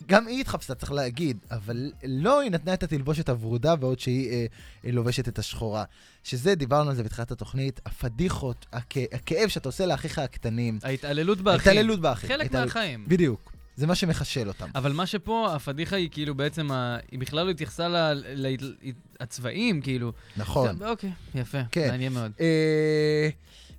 גם היא התחפשה, צריך להגיד, אבל לא היא נתנה את התלבושת הוורודה בעוד שהיא אה, לובשת את השחורה. שזה, דיברנו על זה בתחילת התוכנית, הפדיחות, הכ- הכאב שאתה עושה לאחיך הקטנים. ההתעללות באחים. ההתעללות באחים. חלק ההתעלל- מהחיים. אה, בדיוק. זה מה שמחשל אותם. אבל מה שפה, הפדיחה היא כאילו בעצם, ה- היא בכלל לא התייחסה ל- ל- הצבעים, כאילו. נכון. זה- אוקיי, יפה, כן. מעניין מאוד. אה,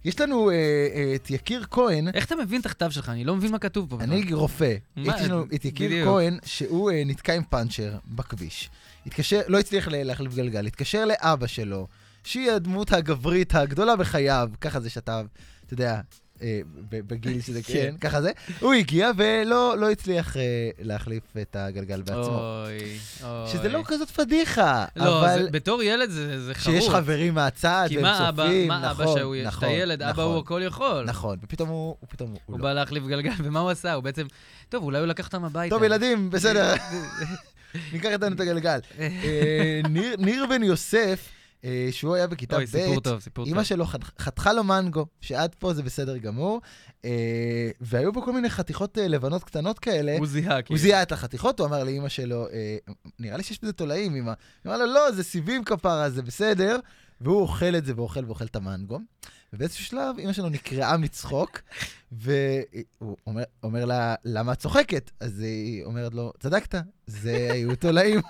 יש לנו אה, אה, את יקיר כהן, איך אתה מבין את הכתב שלך? אני לא מבין מה כתוב פה. בכלל. אני רופא. מה, אה, יש לנו את יקיר בדיוק. כהן, שהוא אה, נתקע עם פאנצ'ר בכביש. התקשר, לא הצליח ל- להחליף גלגל, התקשר לאבא שלו, שהיא הדמות הגברית הגדולה בחייו, ככה זה שאתה, אתה יודע, אה, ב- בגיל שזה כן. כן, ככה זה. הוא הגיע ולא לא הצליח אה, להחליף את הגלגל בעצמו. אוי, אוי. שזה לא כזאת פדיחה, לא, אבל זה- בתור ילד זה זה חרוץ. שיש חברים מהצד, כי והם מה אבא, צופים, מה אבא נכון, שהוא, יש את נכון, הילד, אבא הוא נכון, הכל יכול. נכון, ופתאום הוא, הוא פתאום, הוא הוא לא. בא להחליף גלגל, ומה הוא עשה? הוא בעצם, טוב, אולי הוא לקח אותם הביתה. טוב, ילדים, בסדר. ניקח איתנו את הגלגל. אה, ניר- ניר בן יוסף, אה, שהוא היה בכיתה אוי, סיפור ב', טוב, סיפור טוב. אימא שלו חת- חתכה לו מנגו, שעד פה זה בסדר גמור, אה, והיו פה כל מיני חתיכות אה, לבנות קטנות כאלה. הוא זיהה, כאילו. הוא זיהה את החתיכות, הוא אמר לאימא שלו, אה, נראה לי שיש בזה תולעים, אימא. היא אמרה לו, לא, זה סיבים כפרה, זה בסדר. והוא אוכל את זה ואוכל ואוכל את המנגו. ובאיזשהו שלב, אימא שלו נקרעה מצחוק, והוא אומר, אומר לה, למה את צוחקת? אז היא אומרת לו, צדקת, זה היו תולעים.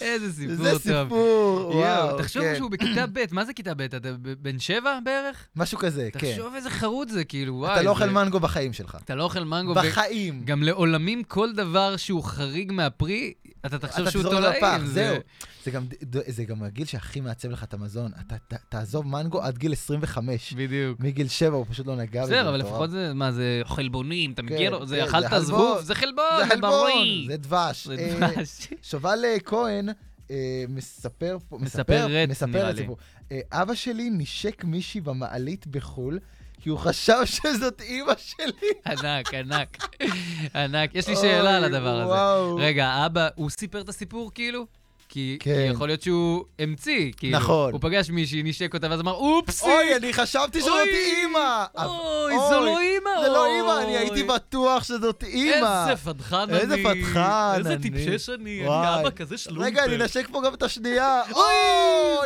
איזה סיפור זה טוב. סיפור, וואו, יואו, תחשוב כן. שהוא בכיתה ב', מה זה כיתה ב'? אתה ב- בן שבע בערך? משהו כזה, כן. תחשוב איזה חרוץ זה, כאילו, וואי. אתה לא אוכל זה- מנגו בחיים שלך. אתה לא אוכל מנגו. ו- בחיים. גם לעולמים כל דבר שהוא חריג מהפרי, אתה תחשוב אתה שהוא תזרוק תולעים. לפח, זה- זהו. זה גם, ד- זה גם הגיל שהכי מעצב לך את המזון. אתה ת- תעזוב מנגו עד גיל 25. בדיוק. מגיל 7 הוא פשוט לא נגע בזה. בסדר, אבל מטורף. לפחות זה, מה זה, חלבונים, אתה מגיע כן, לו, כן, זה זה אכלת חלבון. זבוב, זה חלבון, זה חלבון, בריא. זה דבש. זה אה, דבש. שובל אה, כהן אה, מספר פה, מספרת, נראה מספרת לי. סיפור. אה, אבא שלי נשק מישהי במעלית בחו"ל, כי הוא חשב שזאת אימא שלי. ענק, ענק, ענק. יש לי שאלה על אוי, הדבר הזה. וואו. רגע, אבא, הוא סיפר את הסיפור כאילו? כי כי כן. יכול להיות שהוא המציא, כאילו. נכון. הוא פגש מישהי, נשק אותה, ואז אמר, אופסי! אוי, אני חשבתי שזאת אוי. אימא. אבל- אוי, זו לא אימא! זה לא אוי. אימא, אני הייתי בטוח שזאת אימא. איזה פדחן אני. איזה פתחן איזה אני. טיפשש אני. וואי. אני אבא כזה שלומפר. רגע, אני אנשק פה גם את השנייה. אוי,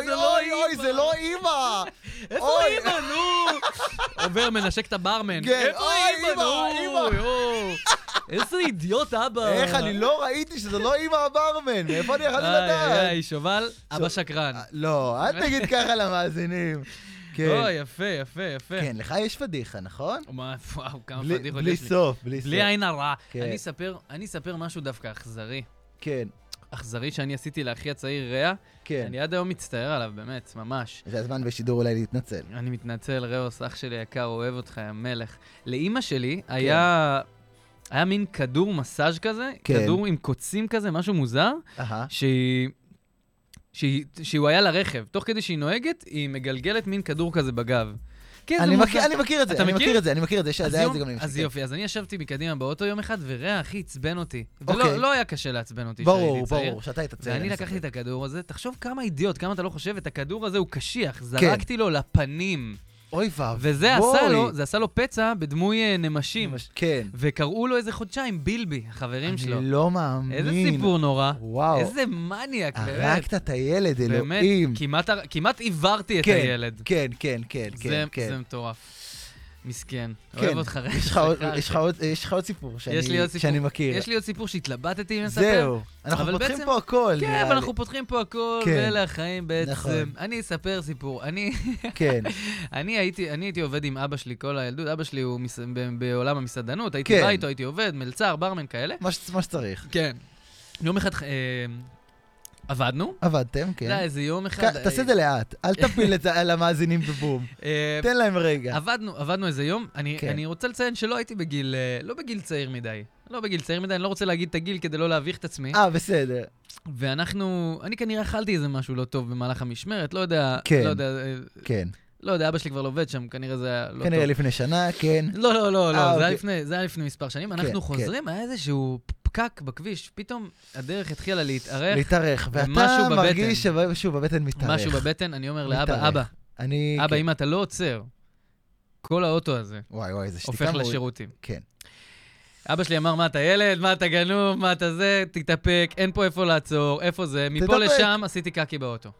זה לא אוי, אוי, אימא. זה לא אימא. איפה אוי. אימא, נו? עובר, מנשק את הברמן. כן, איפה אוי, אימא, אימא, נו? אימא. אוי, איזה אידיוט אבא. איך, אני לא ראיתי שזו לא אימא הברמן. מאיפה אני יכולתי אה. איי, איי, לדעת? איי, שובל, אבא שקרן. לא, אל תגיד ככה למאזינים. אוי, כן, יפה, יפה, יפה. כן, לך יש פדיחה, נכון? מה, וואו, כמה בלי- פדיחות בלי יש לי. סוף, בלי סוף. בלי עין הרע. כן. אני אספר- אני אספר משהו דווקא אכזרי. כן, אכזרי שאני עשיתי לאחי הצעיר רע. כן. אני עד היום מצטער עליו, באמת, ממש. זה הזמן בשידור אולי להתנצל. אני מתנצל, ראוס, אח שלי יקר, אוהב אותך, יא מלך. לאימא שלי היה... היה מין כדור מסאז' כזה, כן. כדור עם קוצים כזה, משהו מוזר, אהה. שהיא... שהיא- שהוא היה לרכב. תוך כדי שהיא נוהגת, היא מגלגלת מין כדור כזה בגב. כן, זה אני מוזר. מכיר- אני מכיר את זה, אתה אני מכיר? מכיר את זה, אני מכיר את זה, יש אז היה את זה כן. יום- גם למשחקים. אז יופי, אז אני ישבתי מקדימה באוטו יום אחד, וריח הכי עצבן אותי. ולא אוקיי. לא היה קשה לעצבן אותי ברור, כשהייתי צעיר. ברור, שאתה היית צעיר. ואני אני לקחתי מסכים. את הכדור הזה, תחשוב כמה אידיוט, כמה אתה לא חושב, את הכדור הזה הוא כן. קשיח, זרקתי לו לפנים. אוי ואבוי. וזה עשה לו, זה עשה לו פצע בדמוי אה, נמשים. כן. וקראו לו איזה חודשיים בילבי, החברים שלו. אני לא מאמין. איזה סיפור נורא. וואו. איזה מניאק, באמת. הרגת אה, את הילד, באמת, אלוהים. כמעט הר- כמעט עיוורתי את כן, הילד. כן, כן, כן, כן, זה- כן. זה מטורף. מסכן. כן. אוהב אותך, יש לך רשע, עוד- סליחה. יש לך עוד- יש לך עוד סיפור שאני- יש לי עוד סיפור. שאני מכיר. יש לי עוד סיפור שהתלבטתי אם לספר. זהו, אנחנו אבל פותחים בעצם- פה הכל. כן, נראה אבל לי. אנחנו פותחים פה הכל, כן. ואלה החיים בעצם. נכון. אני אספר סיפור. אני כן, אני הייתי אני הייתי עובד עם אבא שלי כל הילדות. אבא שלי הוא מס- ב- בעולם המסעדנות, הייתי כן. בא איתו, הייתי עובד, מלצר, ברמן כאלה. מה ש- מה שצריך. כן. יום אחד אה, עבדנו. עבדתם, אתה יודע, כן. איזה יום אחד... ק- תעשה את זה לאט, אל תפיל את זה על המאזינים בבום. אה, תן להם רגע. עבדנו, עבדנו איזה יום. אני, כן. כן. אני רוצה לציין שלא הייתי בגיל, אה, לא בגיל צעיר מדי. לא בגיל צעיר מדי, אני לא רוצה להגיד את הגיל כדי לא להביך את עצמי. אה, בסדר. ואנחנו, אני כנראה אכלתי איזה משהו לא טוב במהלך המשמרת, לא יודע, כן. לא יודע, אה, כן. לא יודע, אבא שלי כבר לא עובד שם, כנראה זה היה לא כנראה טוב. לפני שנה, כן. לא, לא, לא, אה, לא, זה היה אוקיי. לפני- זה היה לפני מספר שנים. אנחנו כן. חוזרים, היה איזשהו פקק בכביש, פתאום הדרך התחילה להתארך, להתארך. משהו ואתה בבטן. מרגיש שמשהו בבטן מתארך. משהו בבטן, אני אומר מתארך. לאבא, אבא, אני... אבא, כן. אמא, אתה לא עוצר. כל האוטו הזה וואי וואי, זה שתיקה הופך מוריד- לשירותים. כן. אבא שלי אמר, מה אתה ילד? מה אתה גנוב? מה אתה זה? תתאפק, אין פה איפה לעצור, איפה זה? מפה תתאפק. לשם עשיתי קקי באוטו.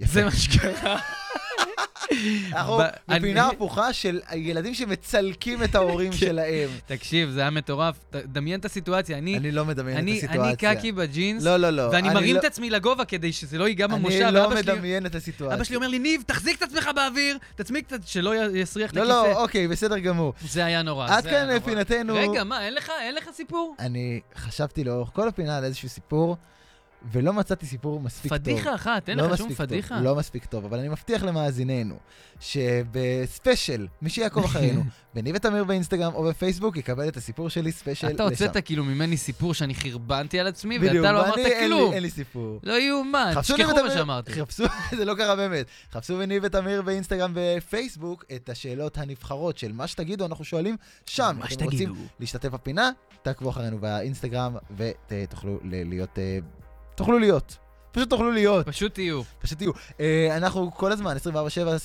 יפה. זה מה שקרה. אנחנו ב- בפינה אני- כן. הפוכה של ילדים שמצלקים את ההורים שלהם. תקשיב, זה היה מטורף. ת- דמיין את הסיטואציה. אני אני לא מדמיין את אני- הסיטואציה. אני קקי בג'ינס, לא, לא, לא. ואני מרים לא- את עצמי לגובה כדי שזה לא ייגע במושב, אני לא ואבא שלי... מדמיין את הסיטואציה. אבא שלי אומר לי, ניב, תחזיק את עצמך באוויר, תצמיק קצת, שלא י- יסריח את לא, לא, הכיסא. אוקיי, בסדר גמור. זה היה נורא. עד זה היה כאן נורא. פינתנו. רגע, מה, אין לך? אין לך סיפור? אני חשבתי לאורך כל הפינה על איזשהו סיפור, ולא מצאתי סיפור מספיק טוב. פדיחה אחת, אין לא לך שום מספיק טוב, פדיחה? לא מספיק טוב, אבל אני מבטיח למאזיננו שבספיישל, מי שיעקוב אחרינו, בניב ותמיר באינסטגרם או בפייסבוק, יקבל את הסיפור שלי ספיישל לשם. אתה הוצאת כאילו ממני סיפור שאני חרבנתי על עצמי, בדיוק, ואתה לא ואני- אמרת אין לי- כלום. אין לי סיפור. לא יאומן, חפשו תשכחו ניב מה ותמיר- שאמרתי. חפשו, זה לא קרה באמת. חפשו בניב ותמיר באינסטגרם ופייסבוק את השאלות הנבחרות של מה שתגידו, אנחנו שואלים שם. מה אתם שתגידו. רוצים להשתתף בפינה, תעקבו אחרינו באינסטגרם ותוכלו להיות... אה, תוכלו להיות. פשוט תוכלו להיות, פשוט תהיו. פשוט תהיו. אה, אנחנו כל הזמן, 24/7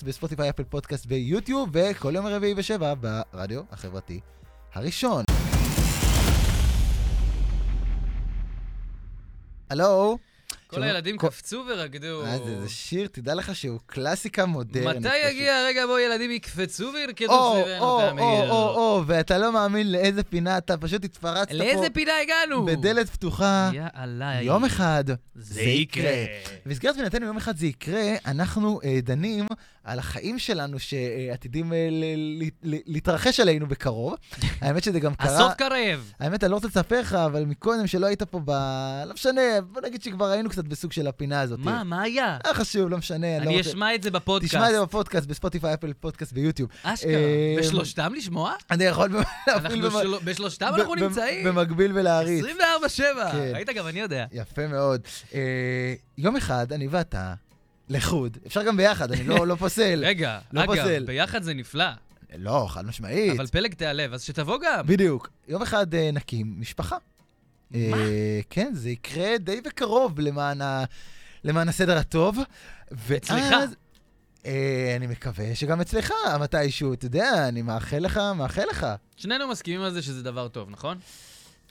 בספוטיפיי, אפל פודקאסט ביוטיוב, וכל יום רביעי בשבע ברדיו החברתי הראשון. הלו? כל הילדים כל- קפצו ורקדו. אה, זה, זה שיר, תדע לך שהוא קלאסיקה מודרנית. מתי יגיע הרגע בו ילדים יקפצו או, וירקדו או, סביבנו את או, המעיר? או, או, ואתה לא מאמין לאיזה פינה אתה פשוט התפרצת פה. לאיזה פינה הגענו? בדלת פתוחה. יאללה. יום יאללה. אחד זה יקרה. במסגרת פינתנו יום אחד זה יקרה, אנחנו אה, דנים על החיים שלנו שעתידים אה, ל- ל- ל- להתרחש עלינו בקרוב. האמת שזה גם קרה... הסוף קרב. האמת, אני לא רוצה לספר לך, אבל מקודם שלא היית פה ב... לא משנה, בוא נגיד שכבר היינו קצת בסוג של הפינה הזאת. מה, מה היה? לא חשוב, לא משנה. אני לא אני רוצה- אשמע את זה בפודקאסט. תשמע את זה בפודקאסט, בספוטיפיי, אפל פודקאסט ביוטיוב. אשכרה. אה, בשלושתם לשמוע? אני יכול במ- להפעיל אנחנו במ- של- בשלושתם ב- אנחנו במ- נמצאים. במקביל ולהריץ. 24-7. כן. ראית גם אני יודע. יפה מאוד. אה, יום אחד, אני ואתה, לחוד, אפשר גם ביחד, אני לא לא פוסל. רגע, לא אגב, פוסל. ביחד זה נפלא, לא, חד משמעית. אבל פלג תיעלב, אז שתבוא גם. בדיוק. יום אחד אה, נקים משפחה. מה? אה, כן, זה יקרה די בקרוב למען ה- למען הסדר הטוב. ואז- אצלך. אה, אני מקווה שגם אצלך, מתישהו, אתה יודע, אני מאחל לך, מאחל לך. שנינו מסכימים על זה שזה דבר טוב, נכון?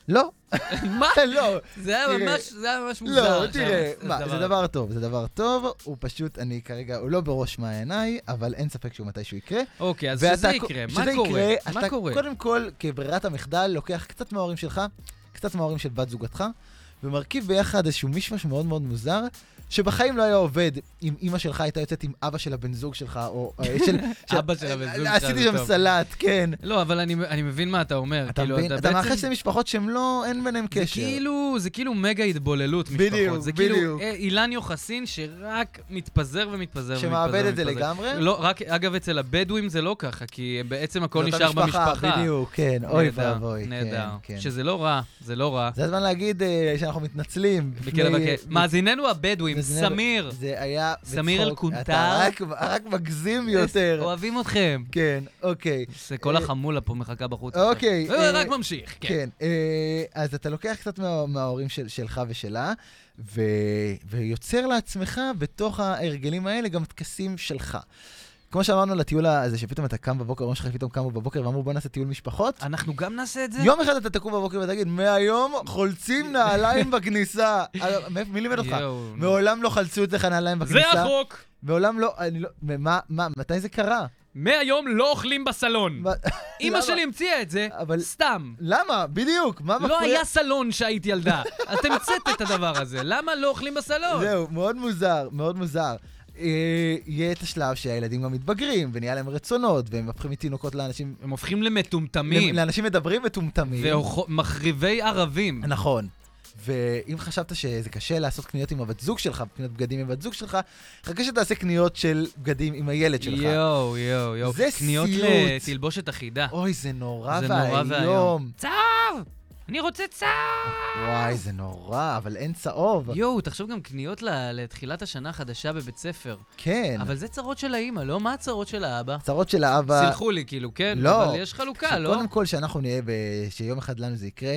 לא, מה? לא, זה היה תראה. ממש, זה היה ממש מוזר. לא, עכשיו, תראה, זה מה, זה דבר טוב, זה דבר טוב, הוא פשוט, אני כרגע, הוא לא בראש מעייניי, אבל אין ספק שהוא מתישהו יקרה. אוקיי, אז ואתה שזה ק- יקרה, מה שזה קורה? יקרה, מה אתה קורה? קודם כל, כברירת המחדל, לוקח קצת מההורים שלך, קצת מההורים של בת זוגתך, ומרכיב ביחד איזשהו מישמש מאוד מאוד מוזר, שבחיים לא היה עובד אם אימא שלך הייתה יוצאת עם אבא של הבן זוג שלך, או... אה, של- אבא של הבן זוג שלך, עשיתי זה שם טוב. סלט, כן. לא, אבל אני אני מבין מה אתה אומר. אתה כאילו, מבין? אתה מאחל בעצם- שזה משפחות שהן לא, אין ביניהן זה קשר. כאילו, זה כאילו מגה התבוללות משפחות. בדיוק, זה כאילו בדיוק. אה, אילן יוחסין שרק מתפזר ומתפזר ומתפזר. שמאבד את זה ומתפזר. לגמרי? לא, רק, אגב, אצל הבדואים זה לא ככה, כי בעצם הכל זאת נשאר המשפחה, במשפחה. בדיוק, כן, אוי נהדר, ואבוי. כן, נהדר. כן. שזה לא רע, זה לא רע. זה הזמן להגיד אה, שאנחנו מתנצלים. בקרב בפני- הכ- מאזיננו הבדואים, בפני- סמיר. זה היה סמיר בצחוק. אלקונטר. אתה רק- רק מגזים יותר. אוהבים אתכם. כן, אוקיי. זה כל אה, החמולה פה מחכה בחוץ. אוקיי, אה, אה, רק ממשיך, כן. כן, אה, אז אתה לוקח קצת מה- מההורים של- שלך ושלה, ו- ויוצר לעצמך בתוך ההרגלים האלה גם טקסים שלך. כמו שאמרנו לטיול הזה, שפתאום אתה קם בבוקר, ההורים שלך פתאום קמו בבוקר ואמרו בוא נעשה טיול משפחות. אנחנו גם נעשה את זה? יום אחד אתה תקום בבוקר ותגיד, מהיום חולצים נעליים בכניסה. אה, מאיפה- מי לימד אותך? יואו, נו. מעולם לא חלצו אצלך זה נעליים בכניסה. החוק! מעולם לא, אני לא, מה, מה, מתי זה קרה? מהיום לא אוכלים בסלון. מה- אימא למה? שלי המציאה את זה, אבל- סתם. למה? בדיוק, מה לא היה סלון שהיית ילדה. את המצאת את הדבר הזה, למה לא אוכלים בסלון? זהו, מאוד מוזר, מאוד מוזר. אה, יהיה את השלב שהילדים גם מתבגרים, ונהיה להם רצונות, והם הופכים מתינוקות לאנשים... הם הופכים למטומטמים, לאנשים מדברים מטומטמים. ומחריבי ערבים. נכון. ואם חשבת שזה קשה לעשות קניות עם הבת זוג שלך, קניות בגדים עם הבת זוג שלך, חכה שתעשה קניות של בגדים עם הילד שלך. יואו, יואו, יואו. זה קניות סיוט. לתלבושת אחידה. אוי, זה נורא זה נורא ואיום. ואיום. צהוב! אני רוצה צהוב! וואי, זה נורא, אבל אין צהוב. יואו, תחשוב גם קניות ל- לתחילת השנה החדשה בבית ספר. כן. אבל זה צרות של האימא, לא? מה הצרות של האבא? צרות של האבא... סלחו לי, כאילו, כן? לא. אבל יש חלוקה, לא? קודם כל, שאנחנו נהיה, ב... שיום אחד לנו זה יקרה,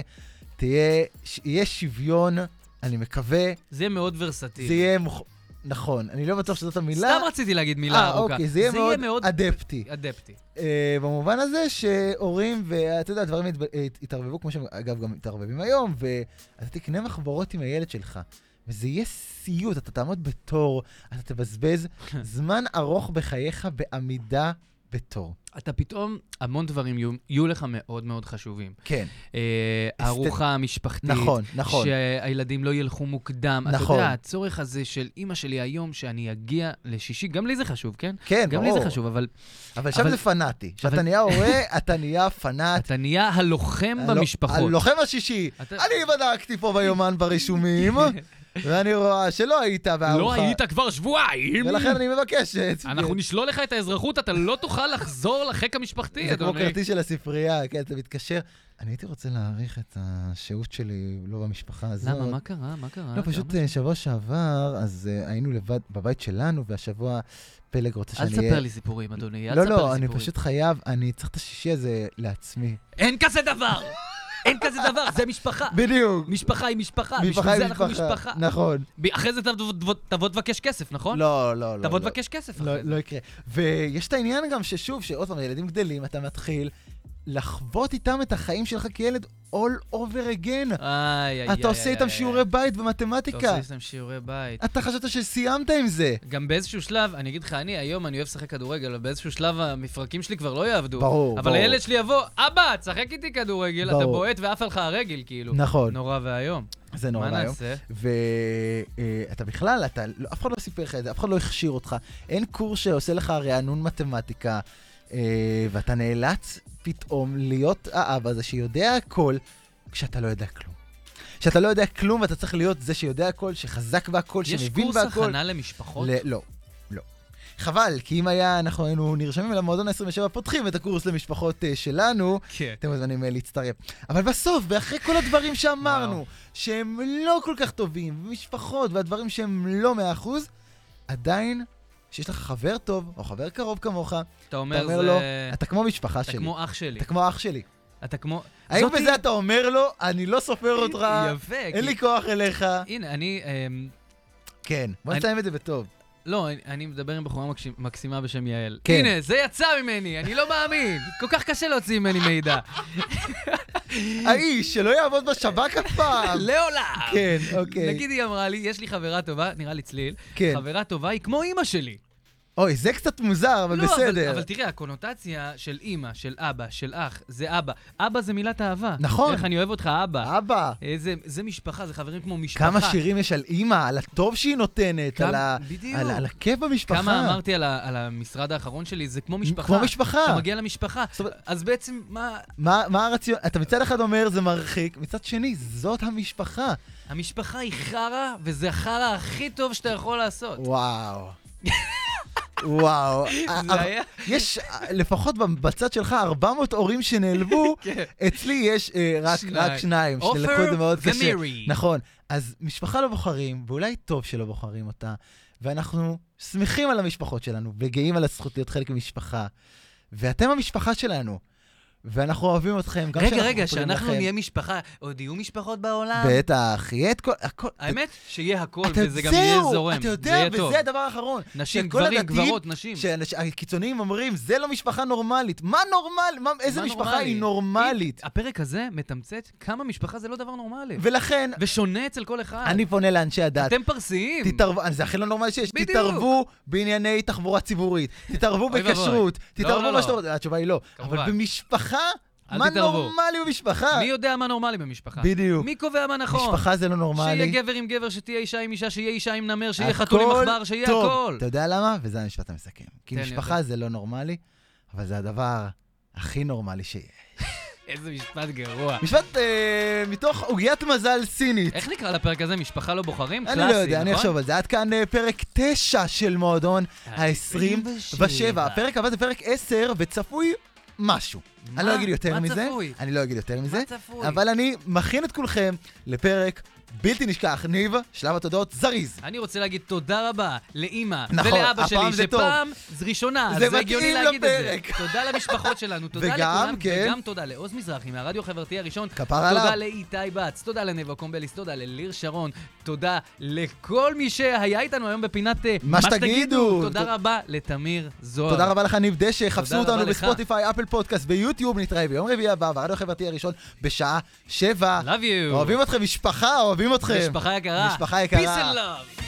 תהיה, ש... יהיה שוויון, אני מקווה, זה יהיה מאוד ורסטילי. זה יהיה, מוכ... נכון, אני לא בטוח שזאת המילה. סתם רציתי להגיד מילה אה, ארוכה. אוקיי, זה יהיה מאוד אדפטי. אדפטי. אה, במובן הזה שהורים, ואתה יודע, הדברים ית... אה, יתערבבו, כמו שהם אגב גם מתערבבים היום, ואתה תקנה מחברות עם הילד שלך. וזה יהיה סיוט, אתה תעמוד בתור, אתה תבזבז זמן ארוך בחייך בעמידה בתור. אתה פתאום, המון דברים יהיו- יהיו לך מאוד מאוד חשובים. כן, אה, אסת- הארוחה המשפחתית. נכון, נכון. שהילדים לא ילכו מוקדם. נכון. אתה יודע, הצורך הזה של אימא שלי היום, שאני אגיע לשישי, גם לי זה חשוב, כן? כן, גם לי ברור. זה חשוב, אבל אבל שם אבל- זה פנאטי. כשאתה אבל- נהיה הורה, אתה נהיה פנאט. אתה נהיה הלוחם הלו- במשפחות. הלוחם השישי. אתה- לא אני בדקתי פה ביומן ברישומים, ואני רואה שלא היית בארוחה. לא היית כבר שבועיים! ולכן אני מבקשת. אנחנו נשלול לך את האזרחות, אתה לא תוכל לחזור לחיק המשפחתי, זה כמו אדוני. כרטיס של הספרייה, כן, אתה מתקשר. אני הייתי רוצה להעריך את השהות שלי לא במשפחה הזאת. למה, מה קרה? מה קרה? לא, פשוט למה? אה, שבוע שעבר, אז אה, היינו לבד בבית שלנו, והשבוע פלג רוצה אל אה, שאני אהיה... תספר לי סיפורים, אדוני, אל תספר לא, לי סיפורים. לא, אני פשוט חייב, אני צריך את השישי הזה לעצמי. אין כזה דבר! אין כזה דבר, זה משפחה. בדיוק. משפחה היא משפחה, משפחה אה, בשביל זה היא אנחנו משפחה. משפחה. נכון. ב- אחרי זה תבוא- תבוא- תבוא תבקש כסף, נכון? לא, לא, לא. תבוא לא. תבקש כסף לא, אחרי זה. לא יקרה. ויש את העניין גם ששוב, שעוד פעם, ילדים גדלים, אתה מתחיל לחוות איתם את החיים שלך כילד all over again. איי, איי, אתה איי, עושה איי, איתם איי, שיעורי איי. בית אתה במתמטיקה. עושה איתם שיעורי בית. אתה חשבת שסיימת עם זה. גם באיזשהו שלב, אני אגיד לך, אני היום אני אוהב לשחק כדורגל, אבל באיזשהו שלב המפרקים שלי כבר לא יעבדו. ברור, אבל ברור. הילד שלי יבוא, אבא, תשחק איתי כדורגל, אתה ברור. בועט ועף עליך הרגל, כאילו. נכון, נורא ואיום. זה נורא מה היום. נעשה? ואתה בכלל, אתה, לא- אף אחד לא סיפר לך את זה, אף אחד לא הכשיר אותך. אין קורס שעושה לך רענון מתמטיקה, אה, ואתה נאלץ פתאום להיות האבא הזה שיודע הכל, כשאתה לא יודע כלום. כשאתה לא יודע כלום, ואתה צריך להיות זה שיודע הכל, שחזק בהכל, יש שמבין קורס בהכל. הכנה נכון? למשפחות? ל- לא, לא. חבל, כי אם היה, אנחנו היינו נרשמים למועדון ה-27, פותחים את הקורס למשפחות אה, שלנו, כן. אתם מוזמנים אה, להצטרף. אבל בסוף, ואחרי כל הדברים שאמרנו, וואו. שהם לא כל כך טובים, ומשפחות, והדברים שהם לא מאה אחוז, עדיין, שיש לך חבר טוב, או חבר קרוב כמוך, אתה אתה אומר, אומר לו, זה... אתה כמו משפחה אתה שלי. כמו אח שלי. אתה כמו אח שלי. אתה כמו... האם זאתי- בזה אתה אומר לו, אני לא סופר אותך, יפה. אין כי- לי כוח אליך? הנה, אני... אמ, כן, בוא אני- נסיים את זה בטוב. לא, אני- אני מדבר עם בחורה מקש- מקסימה בשם יעל. כן. הנה, זה יצא ממני, אני לא מאמין. כל כך קשה להוציא ממני מידע. האיש שלא יעבוד בשב"כ אף פעם. לעולם! כן, אוקיי. נגיד היא אמרה לי, יש לי חברה טובה, נראה לי צליל, כן. חברה טובה היא כמו אימא שלי. אוי, זה קצת מוזר, אבל לא, בסדר. אבל, אבל תראה, הקונוטציה של אימא, של אבא, של אח, זה אבא. אבא זה מילת אהבה. נכון. איך אני אוהב אותך, אבא. אבא, איזה, זה משפחה, זה חברים כמו משפחה. כמה שירים יש על אימא, על הטוב שהיא נותנת, כמה- על ה- בדיוק. על על הכיף במשפחה. כמה אמרתי על, ה, על המשרד האחרון שלי, זה כמו משפחה. כמו משפחה. אתה מגיע למשפחה. זאת אומרת- אז בעצם, מה... מה מה הרציונל? אתה מצד אחד אומר זה מרחיק, מצד שני, זאת המשפחה. המשפחה היא חרא, וזה החרא הכי טוב שאתה יכול לעשות. וואו. וואו. זה היה... יש, אה, לפחות בצד שלך, 400 הורים שנעלבו, כן. אצלי יש אה, רק- שניים. רק שניים, עופר שנלקחו את זה מאוד קשה. ומירי. נכון. אז משפחה לא בוחרים, ואולי טוב שלא בוחרים אותה, ואנחנו שמחים על המשפחות שלנו, וגאים על הזכות להיות חלק ממשפחה. ואתם המשפחה שלנו, ואנחנו אוהבים אתכם, גם רגע, כשאנחנו רגע, חולים שאנחנו לכם. נהיה משפחה, עוד יהיו משפחות בעולם? בטח, יהיה את כל... הכל... האמת, שיהיה הכל, אתה- וזה גם יהיה זהו, זורם. אתה זה יודע, יהיה טוב. וזה הדבר האחרון. נשים, שכל גברים, הדתיים- גברות, נשים. שהקיצוניים אומרים, זה לא משפחה נורמלית. מה נורמל? מה, איזה מה משפחה נורמלי? היא נורמלית? הפרק הזה מתמצת כמה משפחה זה לא דבר נורמלי. ולכן, ושונה אצל כל אחד. אני פונה לאנשי הדת. אתם פרסיים. תתערבו, זה הכי לא נורמלי שיש, בדיוק. תתערבו בענייני תחבורה ציבורית, תתערבו אוי ואבוי. בכשרות, לא, תתערבו לא, מה לא. שאתה רוצה, התשובה היא לא. אבל כמובן. במשפחה, אל מה תתערבו. נורמלי במשפחה? מי יודע מה נורמלי במשפחה? בדיוק. מי קובע מה נכון? משפחה זה לא שיהיה נורמלי. גבר עם גבר, שתהיה אישה עם אישה, שיהיה אישה עם נמר, שיהיה הכל חתול עם עכבר, שיהיה טוב. הכל. אתה יודע למה? וזה המשפט המסכם. כי תן לי משפחה זה לא נורמלי, אבל זה הדבר הכי נורמלי שיש. איזה משפט גרוע. משפט אה, מתוך עוגיית מזל סינית. איך נקרא לפרק הזה? משפחה לא בוחרים? אני קלאסי, לא נכון? יודע, אני אחשוב על זה. עד כאן אה, פרק 9 של מועדון ה-27. הפרק הבא זה פרק 10, וצפוי משהו. אני לא מה? אגיד יותר מה מזה. צפוי? אני לא אגיד יותר מזה. צפוי? אבל אני מכין את כולכם לפרק בלתי נשכח. ניב, שלב התודות זריז. אני רוצה להגיד תודה רבה לאימא נכון, ולאבא הפעם שלי, זה טוב. שפעם זה ראשונה, זה אז זה הגיוני מתאים להגיד את זה. לפרק. תודה למשפחות שלנו, תודה וגם, לכולם, כן. וגם תודה לעוז מזרחי מהרדיו החברתי הראשון. כפרה תודה עליו. לאיתי בץ, תודה לנבו קומבליס, תודה לליר שרון, תודה לכל מי שהיה איתנו היום בפינת אה, מה שתגידו. ת- תודה רבה לתמיר זוהר. תודה רבה לך, ניב דשא, חפשו נכון. תודה אותנו רבה לך. בספוטיפיי, אפל פודקאסט, ביוטיוב, נתראה ביום רביעי הבא, ברדיו החברתי הראשון, בשעה שבע. Love you. אוהבים אתכם, משפחה, אוהבים אתכם. משפחה יקרה. משפחה יקרה. Peace and love.